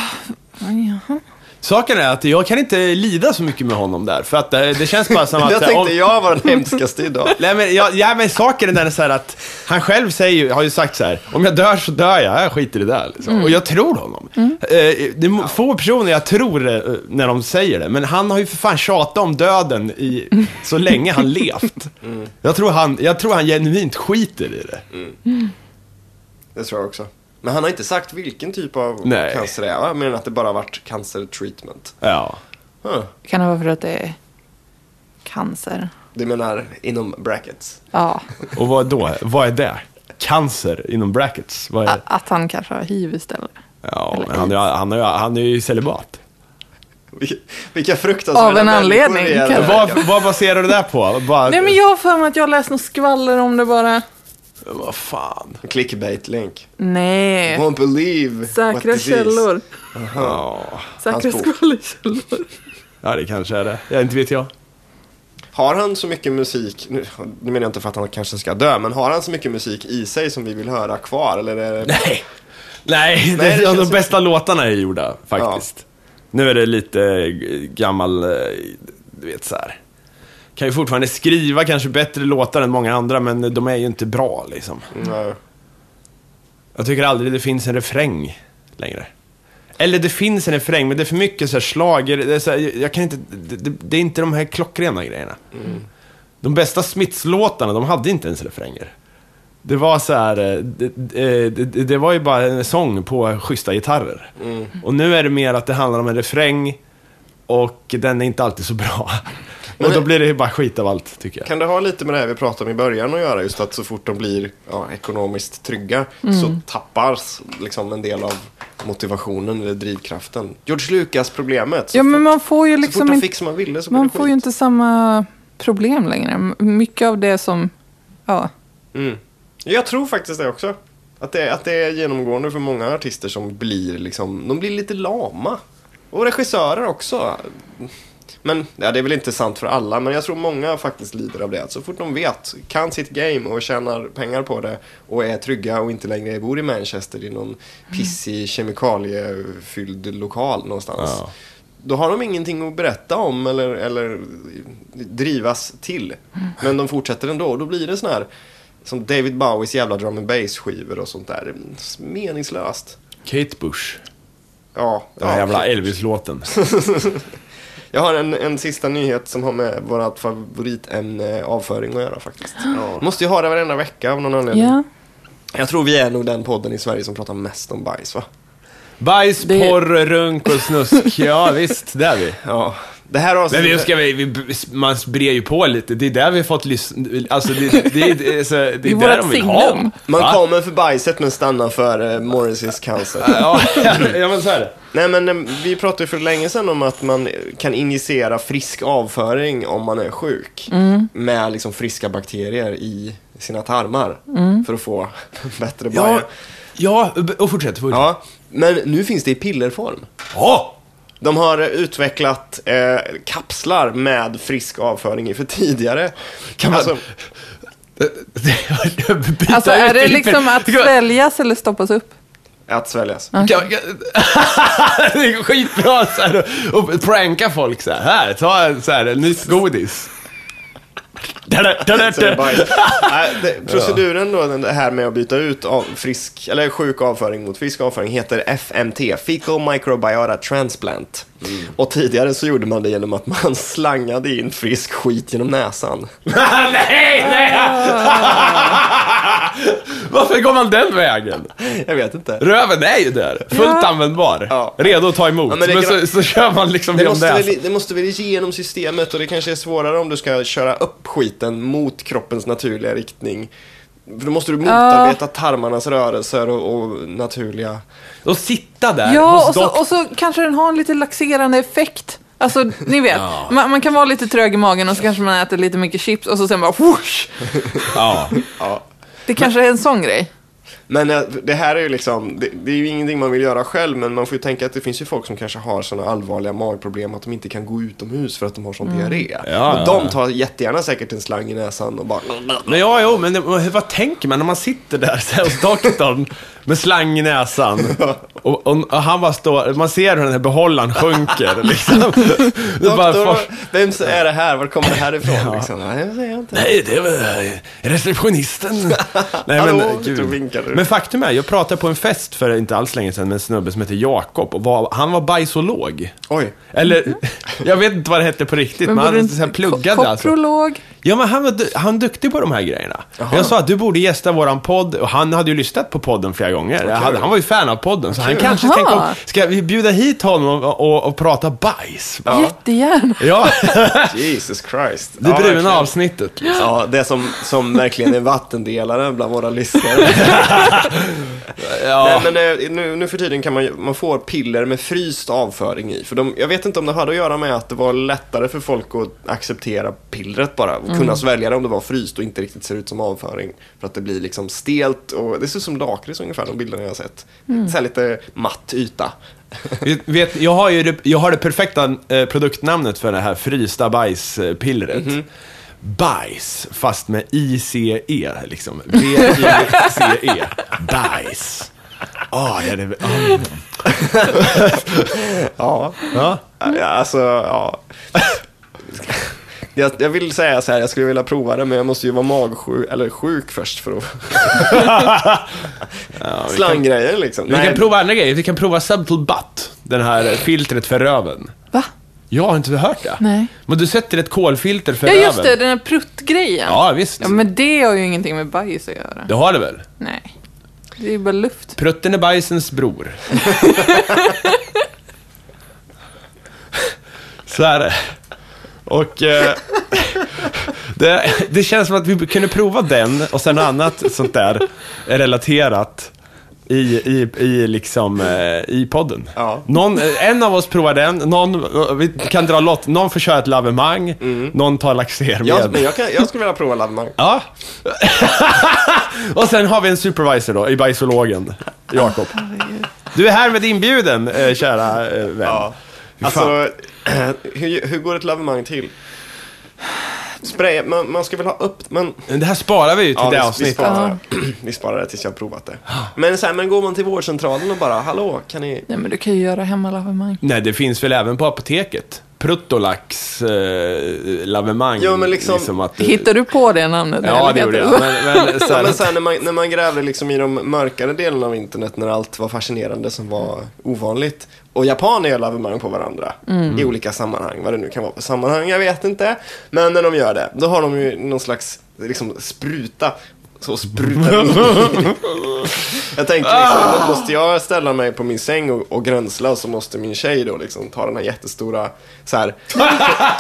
A: ja.
C: Saken är att jag kan inte lida så mycket med honom där, för att eh, det, det känns bara som att...
B: Jag
C: så här,
B: tänkte
C: om-
B: jag var den hemskaste idag.
C: Nej men, ja, ja, men saken är den så här att han själv säger, ju- har ju sagt så här, om jag dör så dör jag, jag skiter i det. här", Liksom. Och jag tror honom.
A: Mm.
C: Eh, det är få personer jag tror det, eh, när de säger det, men han har ju för fan tjatat om döden i, så länge han levt.
A: Mm.
C: Jag, tror han, jag tror han genuint skiter i det.
B: Det tror jag också. Men han har inte sagt vilken typ av
C: Nej.
B: cancer det är, va? men att det bara har varit cancer treatment.
C: Ja.
B: Huh.
A: Kan det vara för att det är cancer?
B: Du menar inom brackets?
A: Ja.
C: Och vad då? Vad är det? cancer inom brackets. Vad är
A: A- Att han kanske har hiv istället.
C: Ja,
A: Eller
C: men han, är- han, är- han är ju celibat.
B: Vilka, vilka fruktansvärda
A: Av en
B: människor
A: anledning,
B: vi är.
A: kanske.
C: Vad, vad baserar du det där på? Bara,
A: Nej men jag har för mig att jag läste något skvaller om det bara.
C: Vad fan.
B: Clickbait-link.
A: Nej.
B: Won't believe what
A: Eh. Säkra
B: this is.
A: källor.
C: Ja.
A: Säkra
B: Hans bok.
A: skvallerkällor.
C: ja, det kanske är det. Ja, inte vet jag.
B: Har han så mycket musik, nu, nu menar jag inte för att han kanske ska dö, men har han så mycket musik i sig som vi vill höra kvar? Eller är det...
C: Nej. Nej,
B: Nej, det
C: det, de
B: känns
C: bästa låtarna är gjorda faktiskt. Nu är det lite eh, gammal, eh, du vet så här. Kan ju fortfarande skriva kanske bättre låtar än många andra, men de är ju inte bra liksom.
B: Nej.
C: Jag tycker aldrig det finns en refräng längre. Eller det finns en refräng, men det är för mycket så här slager. Det är, så här, jag kan inte, det, det- det är inte de här klockrena grejerna.
B: Mm.
C: De bästa Smiths-låtarna, de hade inte ens refränger. Det var så här, eh, det, eh, det, det var ju bara en sång på schyssta gitarrer.
B: Mm.
C: Och nu är det mer att det handlar om en refräng och den är inte alltid så bra.
B: Men-
C: och då blir det ju bara skit av allt, tycker jag.
B: Kan det ha lite med det här vi pratade om i början att göra? Just att så fort de blir ja, ekonomiskt trygga
A: Mm.
B: så tappas liksom en del av motivationen eller drivkraften. George Lucas-problemet. Så,
A: Ja men man får ju
B: fort- så fort
A: liksom
B: han
A: inte,
B: fick som han ville så blev
A: man
B: det
A: får
B: skit.
A: ju inte samma problem längre. M- Mycket av det som, ja.
B: Mm. Jag tror faktiskt det också. Att det, att det är genomgående för många artister som blir liksom, de blir lite lama. Och regissörer också. Men ja, det är väl inte sant för alla, men jag tror många faktiskt lider av det. Att så fort de vet, kan sitt game och tjänar pengar på det och är trygga och inte längre bor i Manchester i någon pissig kemikaliefylld lokal någonstans.
C: Ja.
B: Då har de ingenting att berätta om eller, eller drivas till. Men de fortsätter ändå och då blir det sån här som David Bowies jävla drum and bass skivor och sånt där. Meningslöst.
C: Kate Bush,
B: Ja,
C: den här
B: ja.
C: jävla Elvis-låten.
B: Jag har en, en sista nyhet som har med vårt favoritämne avföring att göra faktiskt. Måste ju ha det varenda vecka av någon anledning.
A: Ja.
B: Jag tror vi är nog den podden i Sverige som pratar mest om bajs va?
C: Bajs,
A: Det-
C: porr, runk och snusk. Ja, visst, det är vi.
B: Ja. Det här
C: Men vi
B: avsnittet...
C: ska, vi, vi, man brer ju på lite. Det är där vi har fått lyssna... Alltså, det, det, det, är- alltså, det
A: I
C: är
A: vårat
C: där de vill ha.
A: signum.
B: Man
C: Va?
B: kommer för bajset men stannar för eh, Morrisseys cancer.
C: Ja, ja, men så är det.
B: Nej men eh, vi pratade ju för länge sedan om att man kan injicera frisk avföring om man är sjuk.
C: Mm.
B: Med liksom friska bakterier i sina tarmar. För att få bättre
C: Mm. Ja,
B: bajer.
C: ja och fortsätt. fortsätt.
B: Ja, men nu finns det i pillerform.
C: Ja.
B: De har utvecklat eh, kapslar med frisk avföring i för tidigare.
C: Kan man-
B: Alltså,
C: Byta
A: Alltså
C: ut
A: är det
C: i-
A: liksom att sväljas eller stoppas upp?
B: att sväljas.
C: Kan- kan- Det är skitbra så här, och, och pranka folk så här. Här, ta en så här, en nyss godis.
B: Så det är bajs. Nej, det, proceduren då, den här med att byta ut av frisk, eller sjuk avföring mot frisk avföring heter FMT, Fecal Microbiota Transplant. Och tidigare så gjorde man det genom att man slangade in frisk skit genom näsan.
C: nej, nej! Varför går man den vägen?
B: Jag vet inte.
C: Röven är ju där, fullt
A: Ja.
C: användbar.
B: Ja.
C: Redo att ta emot.
B: Ja, men
C: men
B: det kan-
C: så, så kör man liksom
B: Det
C: genom
B: måste,
C: det.
B: väl, det måste väl igenom systemet och det kanske är svårare om du ska köra upp skiten mot kroppens naturliga riktning. För då måste du motarbeta tarmarnas rörelser och, och naturliga...
C: Och sitta där
A: Ja,
C: hos
A: och så,
C: doktorn.
A: och så kanske den har en lite laxerande effekt. Alltså, ni vet,
C: Ja.
A: man, man kan vara lite trög i magen och så kanske man äter lite mycket chips och så sen bara whoosh!
C: Ja.
A: Det kanske är en sån grej.
B: Men eh, det här är ju liksom, det, det är ju ingenting man vill göra själv men man får ju tänka att det finns ju folk som kanske har sådana allvarliga magproblem att de inte kan gå utomhus för att de har sån diarré.
C: Mm. Ja,
B: och
C: ja,
B: de
C: ja.
B: tar jättegärna säkert en slang i näsan och bara...
C: Men ja, jo, men det, vad tänker man när man sitter där så här, hos doktorn med slang i näsan? Och, och, och han bara står, man ser hur den här behållaren sjunker liksom. Det bara
B: Doktor,
C: fors-
B: vem är det här? Var kommer det här ifrån? Liksom. Nej, det säger jag inte.
C: Nej, det var eh, receptionisten. Nej,
B: Hallå, då vinkar du.
C: men faktum är, jag pratade på en fest för inte alls länge sedan med en snubbe som heter Jakob. Och var, han var bajsolog.
B: Oj. Mhm.
C: Eller, jag vet inte vad det hette på riktigt, men,
A: borde
C: han
A: inte-
C: så här
A: ko-
C: pluggade alltså.
A: Koprolog.
C: Ja, men han var du- han är duktig på de här grejerna. Jag sa att du borde gästa våran podd, och han hade ju lyssnat på podden flera gånger. Han, han var ju fan av podden, så han kanske
A: Aha.
C: tänkte, om, ska vi bjuda hit honom och, och, och prata bajs?
A: Jättegärna.
C: Ja,
B: Jesus Christ.
C: Det
B: Ja, verkligen.
C: bruna avsnittet.
B: Ja, det som, som verkligen är vattendelaren bland våra lyssnare.
C: Ja.
B: Nej, men eh, nu, nu för tiden kan man ju- man får piller med fryst avföring i. För de, jag vet inte om det hade att göra med att det var lättare för folk att acceptera pillret bara. Och kunna svälja det om det var fryst och inte riktigt ser ut som avföring. För att det blir liksom stelt och det ser ut som lakrits ungefär, de bilderna jag har sett. Så här lite matt yta.
C: Vet- Vet, jag, har ju det, jag har det perfekta eh, produktnamnet för det här frysta bajspillret. Bajs, fast med ICE liksom. B-I-C-E. E. Bajs. Ah, det är det,
B: Ja.
C: ah. ja.
B: Ja, Alltså, ja. Jag, jag vill säga så här, jag skulle vilja prova det, men jag måste ju vara magsjuk, eller sjuk först för att... Slanggrejer liksom.
C: Vi kan
B: Nej,
C: prova andra grejer. Vi kan prova Subtle Butt. Den här eh, filtret för röven.
A: Va?
C: Jag har inte hört det.
A: Nej.
C: Men du sätter ett kolfilter för
A: Ja,
C: röven.
A: just det. Den här pruttgrejen.
C: Ja, visst.
A: Ja, men det har ju ingenting med bajs att göra.
C: Det har det väl?
A: Nej. Det är ju bara luft.
C: Prutten är bajsens bror. Så är det. Och eh, det, det känns som att vi kunde prova den och sen annat sånt där relaterat i, i, i, liksom, eh, i podden.
B: Ja.
C: Någon, eh, en av oss provar den, någon, eh, vi kan dra lott, någon får köra ett lavemang, någon tar laxer
B: jag, Mm. men jag, kan, jag skulle vilja prova lavemang.
C: Ja. och sen har vi en supervisor då, i bajsologen, Jakob. Du är härmed inbjuden, eh, kära eh, vän.
B: Ja.
C: Fy fan.
B: Alltså, hur, hur går ett lavemang till? Spray, man, man ska väl ha upp... Men,
C: Det här sparar vi ju till
B: ja,
C: det
B: vi, vi,
C: avsnittet.
B: sparar, vi sparar det tills jag har provat det. Men, så här, men går man till vårdcentralen och bara, hallå, kan ni...
A: Nej, men du kan ju göra hemmalavemang.
C: Nej, det finns väl även på apoteket? Pruttolax, eh, lavemang.
B: Ja, men liksom-
C: att, eh,
A: Hittar du på det namnet?
C: Ja,
A: eller
C: det
A: vet
C: gjorde
A: du?
C: jag. Men, men, så
B: Ja,
C: här,
B: men sen när man, när man grävde liksom i de mörkare delarna av internet när allt var fascinerande som var ovanligt. Och japaner gör lavemang på varandra
A: Mm.
B: i olika sammanhang. Vad det nu kan vara för sammanhang, jag vet inte. Men när de gör det, då har de ju någon slags liksom, spruta. Så sprutar de. jag tänkte
A: Ah!
B: liksom, då måste jag ställa mig på min säng och, och grönsla och så måste min tjej då liksom ta den här jättestora så här,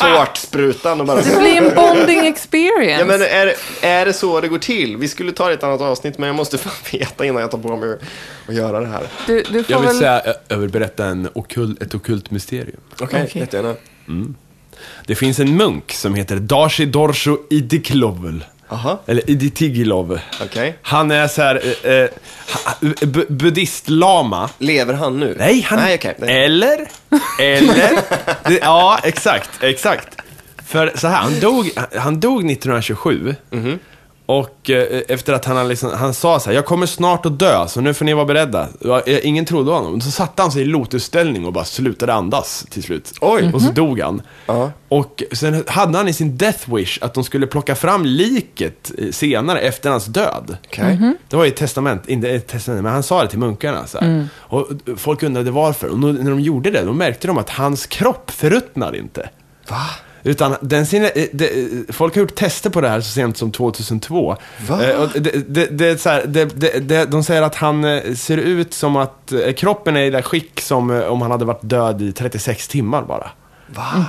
B: tårtsprutan och bara
A: Det blir en bonding experience.
B: Ja, men är, det- är det så det går till? Vi skulle ta det i ett annat avsnitt, men jag måste fan veta innan jag tar på mig att göra det här.
A: du, du får
C: jag
A: väl...
C: vill säga, jag- jag vill berätta en okult, ett okult mysterium.
B: Okej,
A: Okej.
B: jättegärna.
C: Det finns en munk som heter Darcy Dorsho Idiklovel.
B: Aha.
C: Eller Iditigilov.
B: Okej.
C: Han är så här, eh, eh, ha- bu- buddhistlama.
B: Lever han nu?
C: Nej, han...
B: Nej, okej. Nej.
C: Eller? Eller? det, ja, exakt, exakt. För så här, han dog, han dog 1927.
B: Mhm.
C: Och eh, efter att han, har liksom, han sa så här, jag kommer snart att dö, så nu får ni vara beredda. Ja, eh, Ingen trodde honom. Så satte han sig i lotusställning och bara slutade andas till slut. Mm.
B: Oj.
C: Och så dog han.
B: Mm-hmm. Ja.
C: Och sen hade han i sin death wish att de skulle plocka fram liket eh, senare efter hans död.
B: Okej. Mhm.
C: Det var ju ett testament, inte ett testament, men han sa det till munkarna. Så här. Och folk undrade varför. Och nu- när de gjorde det, då märkte de att hans kropp förruttnade inte.
B: Va?
C: Utan den sina, eh, det- eh, folk har gjort tester på det här så sent som 2002.
B: Va?
C: Eh, och det, det, det, är så här, det, det, det, de säger att han eh, ser ut som att eh, kroppen är i det skick som eh, om han hade varit död i 36 timmar bara.
B: Va?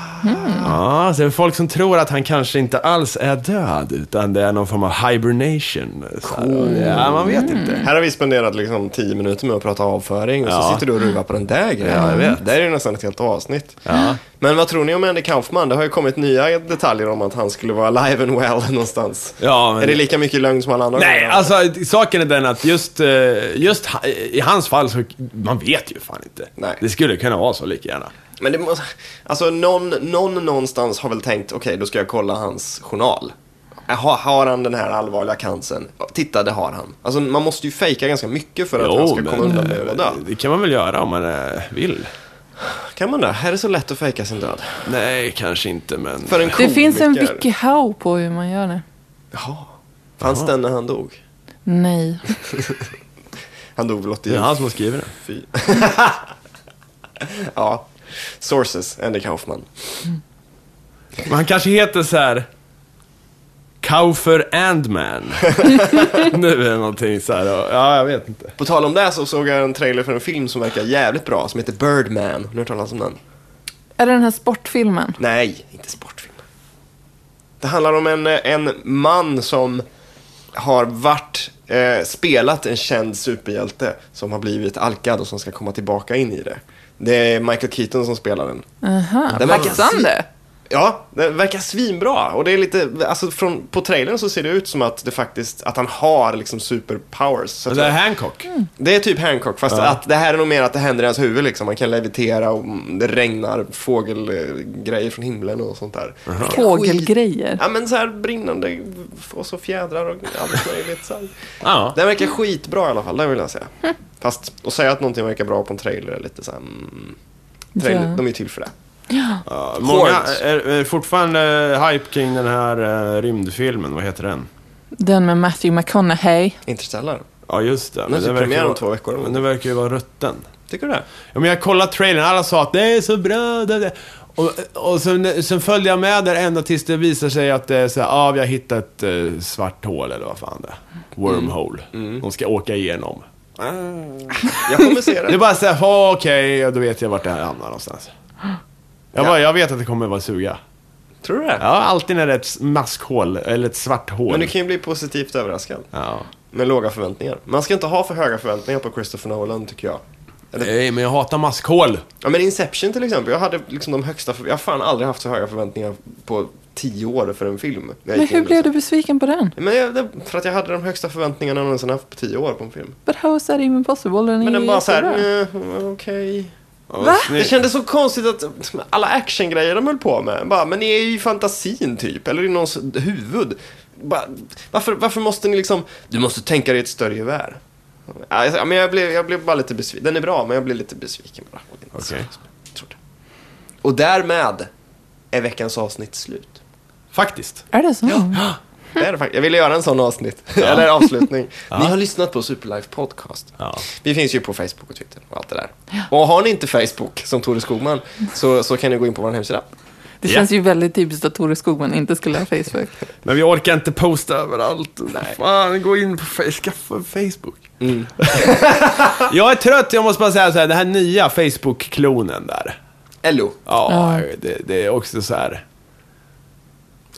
C: Ja, så det är folk som tror att han kanske inte alls är död, utan det är någon form av hibernation. Så här. Ja, man vet inte.
B: Här har vi spenderat liksom tio minuter med att prata avföring och så
C: Ja.
B: sitter du och ruvar på den där grejen.
C: Ja, jag vet.
B: Det här är ju nästan ett helt avsnitt. Men vad tror ni om Andy Kaufman? Det har ju kommit nya detaljer om att han skulle vara alive and well någonstans.
C: Ja, men-
B: Är det lika mycket lögn som alla andra?
C: Nej,
B: gånger?
C: alltså saken är den att just, eh, just ha- i hans fall så, man vet ju fan inte.
B: Nej.
C: Det skulle kunna vara så lika gärna.
B: Men det måste, alltså någon, någon någonstans har väl tänkt, okej då ska jag kolla hans journal. Har, har han den här allvarliga cancern? Titta, det har han. Alltså man måste ju fejka ganska mycket för att han ska komma undan med att
C: eh,
B: dö.
C: det kan man väl göra om man eh, vill.
B: Kan man det? Här är det så lätt att fejka sin död.
C: Nej, kanske inte, men...
B: För en
A: Det finns en
B: komiker.
A: wikihow på hur man gör det.
B: Jaha. Fanns den när han dog?
A: Nej.
B: Han dog väl
C: Det är
B: 84?
C: han som har skrivit det.
B: ja. Sources, Andy Kaufman.
C: Men han kanske heter så här. Kaufer Andman. nu är det någonting så här. och- Ja, jag vet inte.
B: På tal om det så såg jag en trailer för en film som verkar jävligt bra, som heter Birdman. Har ni hört talas om den?
A: Är det den här sportfilmen?
B: Nej, inte sportfilm. Det handlar om en, eh, en man som har varit, eh, spelat en känd superhjälte som har blivit alkad och som ska komma tillbaka in i det. Det är Michael Keaton som spelar den.
A: Aha,
B: Den verkar
A: passande.
B: Ja, den verkar svinbra. Och det är lite, alltså från, på trailern så ser det ut som att det faktiskt, att han har liksom superpowers. Så att
C: Det är Hancock.
B: det är typ Hancock, fast att det här är nog mer att det händer i hans huvud liksom. Man kan levitera och mm, det regnar fågelgrejer från himlen och sånt där.
A: Fågelgrejer.
B: Ja men så här brinnande och så fjädrar och allt möjligt. Så här.
C: Ja.
B: Den verkar skitbra i alla fall, det vill jag säga. Fast att säga att någonting verkar bra på en trailer är lite så här, mm, trailer,
A: Ja.
B: De är ju till för det.
C: Ja, Många
B: Horns.
C: är, är fortfarande eh, hype kring den här eh, rymdfilmen, vad heter den?
A: Den med Matthew McConaughey.
B: Interstellar,
C: Ja, just det.
B: Den ser
C: verkar
B: premiär om
C: vara-
B: två veckor.
C: Men den verkar ju vara rutten.
B: tycker du det?
C: Ja, men jag kollade trailern, alla sa att det är så bra. Det, det. Och, och sen, sen följde jag med där ända tills det visar sig att det är så här, ah, vi har hittat ett eh, svart hål eller vad fan det är. Wormhole.
B: Mm.
C: De ska åka igenom.
B: Jag kommer se
C: Ah. Det är
B: den.
C: bara såhär, ah, okej, ja, då vet jag vart det här hamnar någonstans. Jag, bara, jag vet att det kommer vara suga.
B: Tror du det?
C: Ja, alltid när det är ett maskhål, eller ett svart hål.
B: Men du kan ju bli positivt överraskad.
C: Ja.
B: Med låga förväntningar. Man ska inte ha för höga förväntningar på Christopher Nolan, tycker jag.
C: Nej, men jag hatar maskhål.
B: Ja men Inception till exempel, jag hade liksom de högsta, för- jag har fan aldrig haft så höga förväntningar på tio år för en film. när jag
A: Men
B: gick in
A: hur
B: i
A: blev
B: det.
A: du besviken på den?
B: Men jag, det- för att jag hade de högsta förväntningarna jag någonsin haft på tio år på en film.
A: But how is that even possible? Den är
B: Men den
A: ju
B: bara såhär,
A: jättebra.
B: eh, okej.
C: Va?
B: Det kändes så konstigt att alla actiongrejer de höll på med, bara, men ni är ju i fantasin typ, eller i någons huvud. Bara, varför, varför måste ni liksom, du måste tänka dig ett större gevär. Ja, jag- men jag blev, jag blev bara lite besviken, den är bra, men jag blev lite besviken bara.
C: Okej.
B: Jag tror det. Och därmed är veckans avsnitt slut.
C: Faktiskt.
A: Är det så?
B: Det är det faktiskt. Jag ville göra en sån avsnitt, eller avslutning. Ni har lyssnat på Superlife Podcast.
C: Ja.
B: Vi finns ju på Facebook och Twitter och allt det där. Och har ni inte Facebook, som Tore Skogman, så, så kan ni gå in på vår hemsida.
A: Det
C: Ja.
A: känns ju väldigt typiskt att Tore Skogman inte skulle ha Facebook.
C: Men vi orkar inte posta överallt. Fan, gå in på Fa- skaffa Facebook. Mm. jag är trött, jag måste bara säga så här, den här nya Facebook-klonen där.
B: Ello.
C: Ja,
A: Ja.
C: det, det är också så här.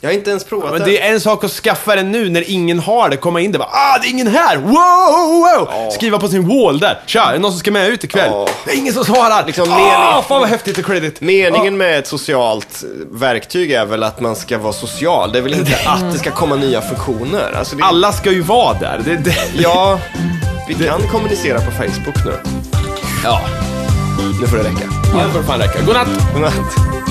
B: Jag har inte ens provat
C: Men det är en sak att skaffa den nu när ingen har det, komma in där bara ah, det är ingen här, wow, wow, wow. Skriva på sin wall där, tja, är det någon som ska med ut ikväll?
B: Ja.
C: Det är ingen som svarar!
B: Liksom
C: ah,
B: mening-
C: fan vad häftigt och credit.
B: Meningen med ett socialt eh, verktyg är väl att man ska vara social. Det är väl inte att det ska komma nya funktioner. Alltså det,
C: Alla ska ju vara där. Det, det.
B: Ja, vi kan kommunicera på Facebook nu.
C: Ja,
B: Nu får det räcka.
C: det får fan räcka. Godnatt!
B: Godnatt.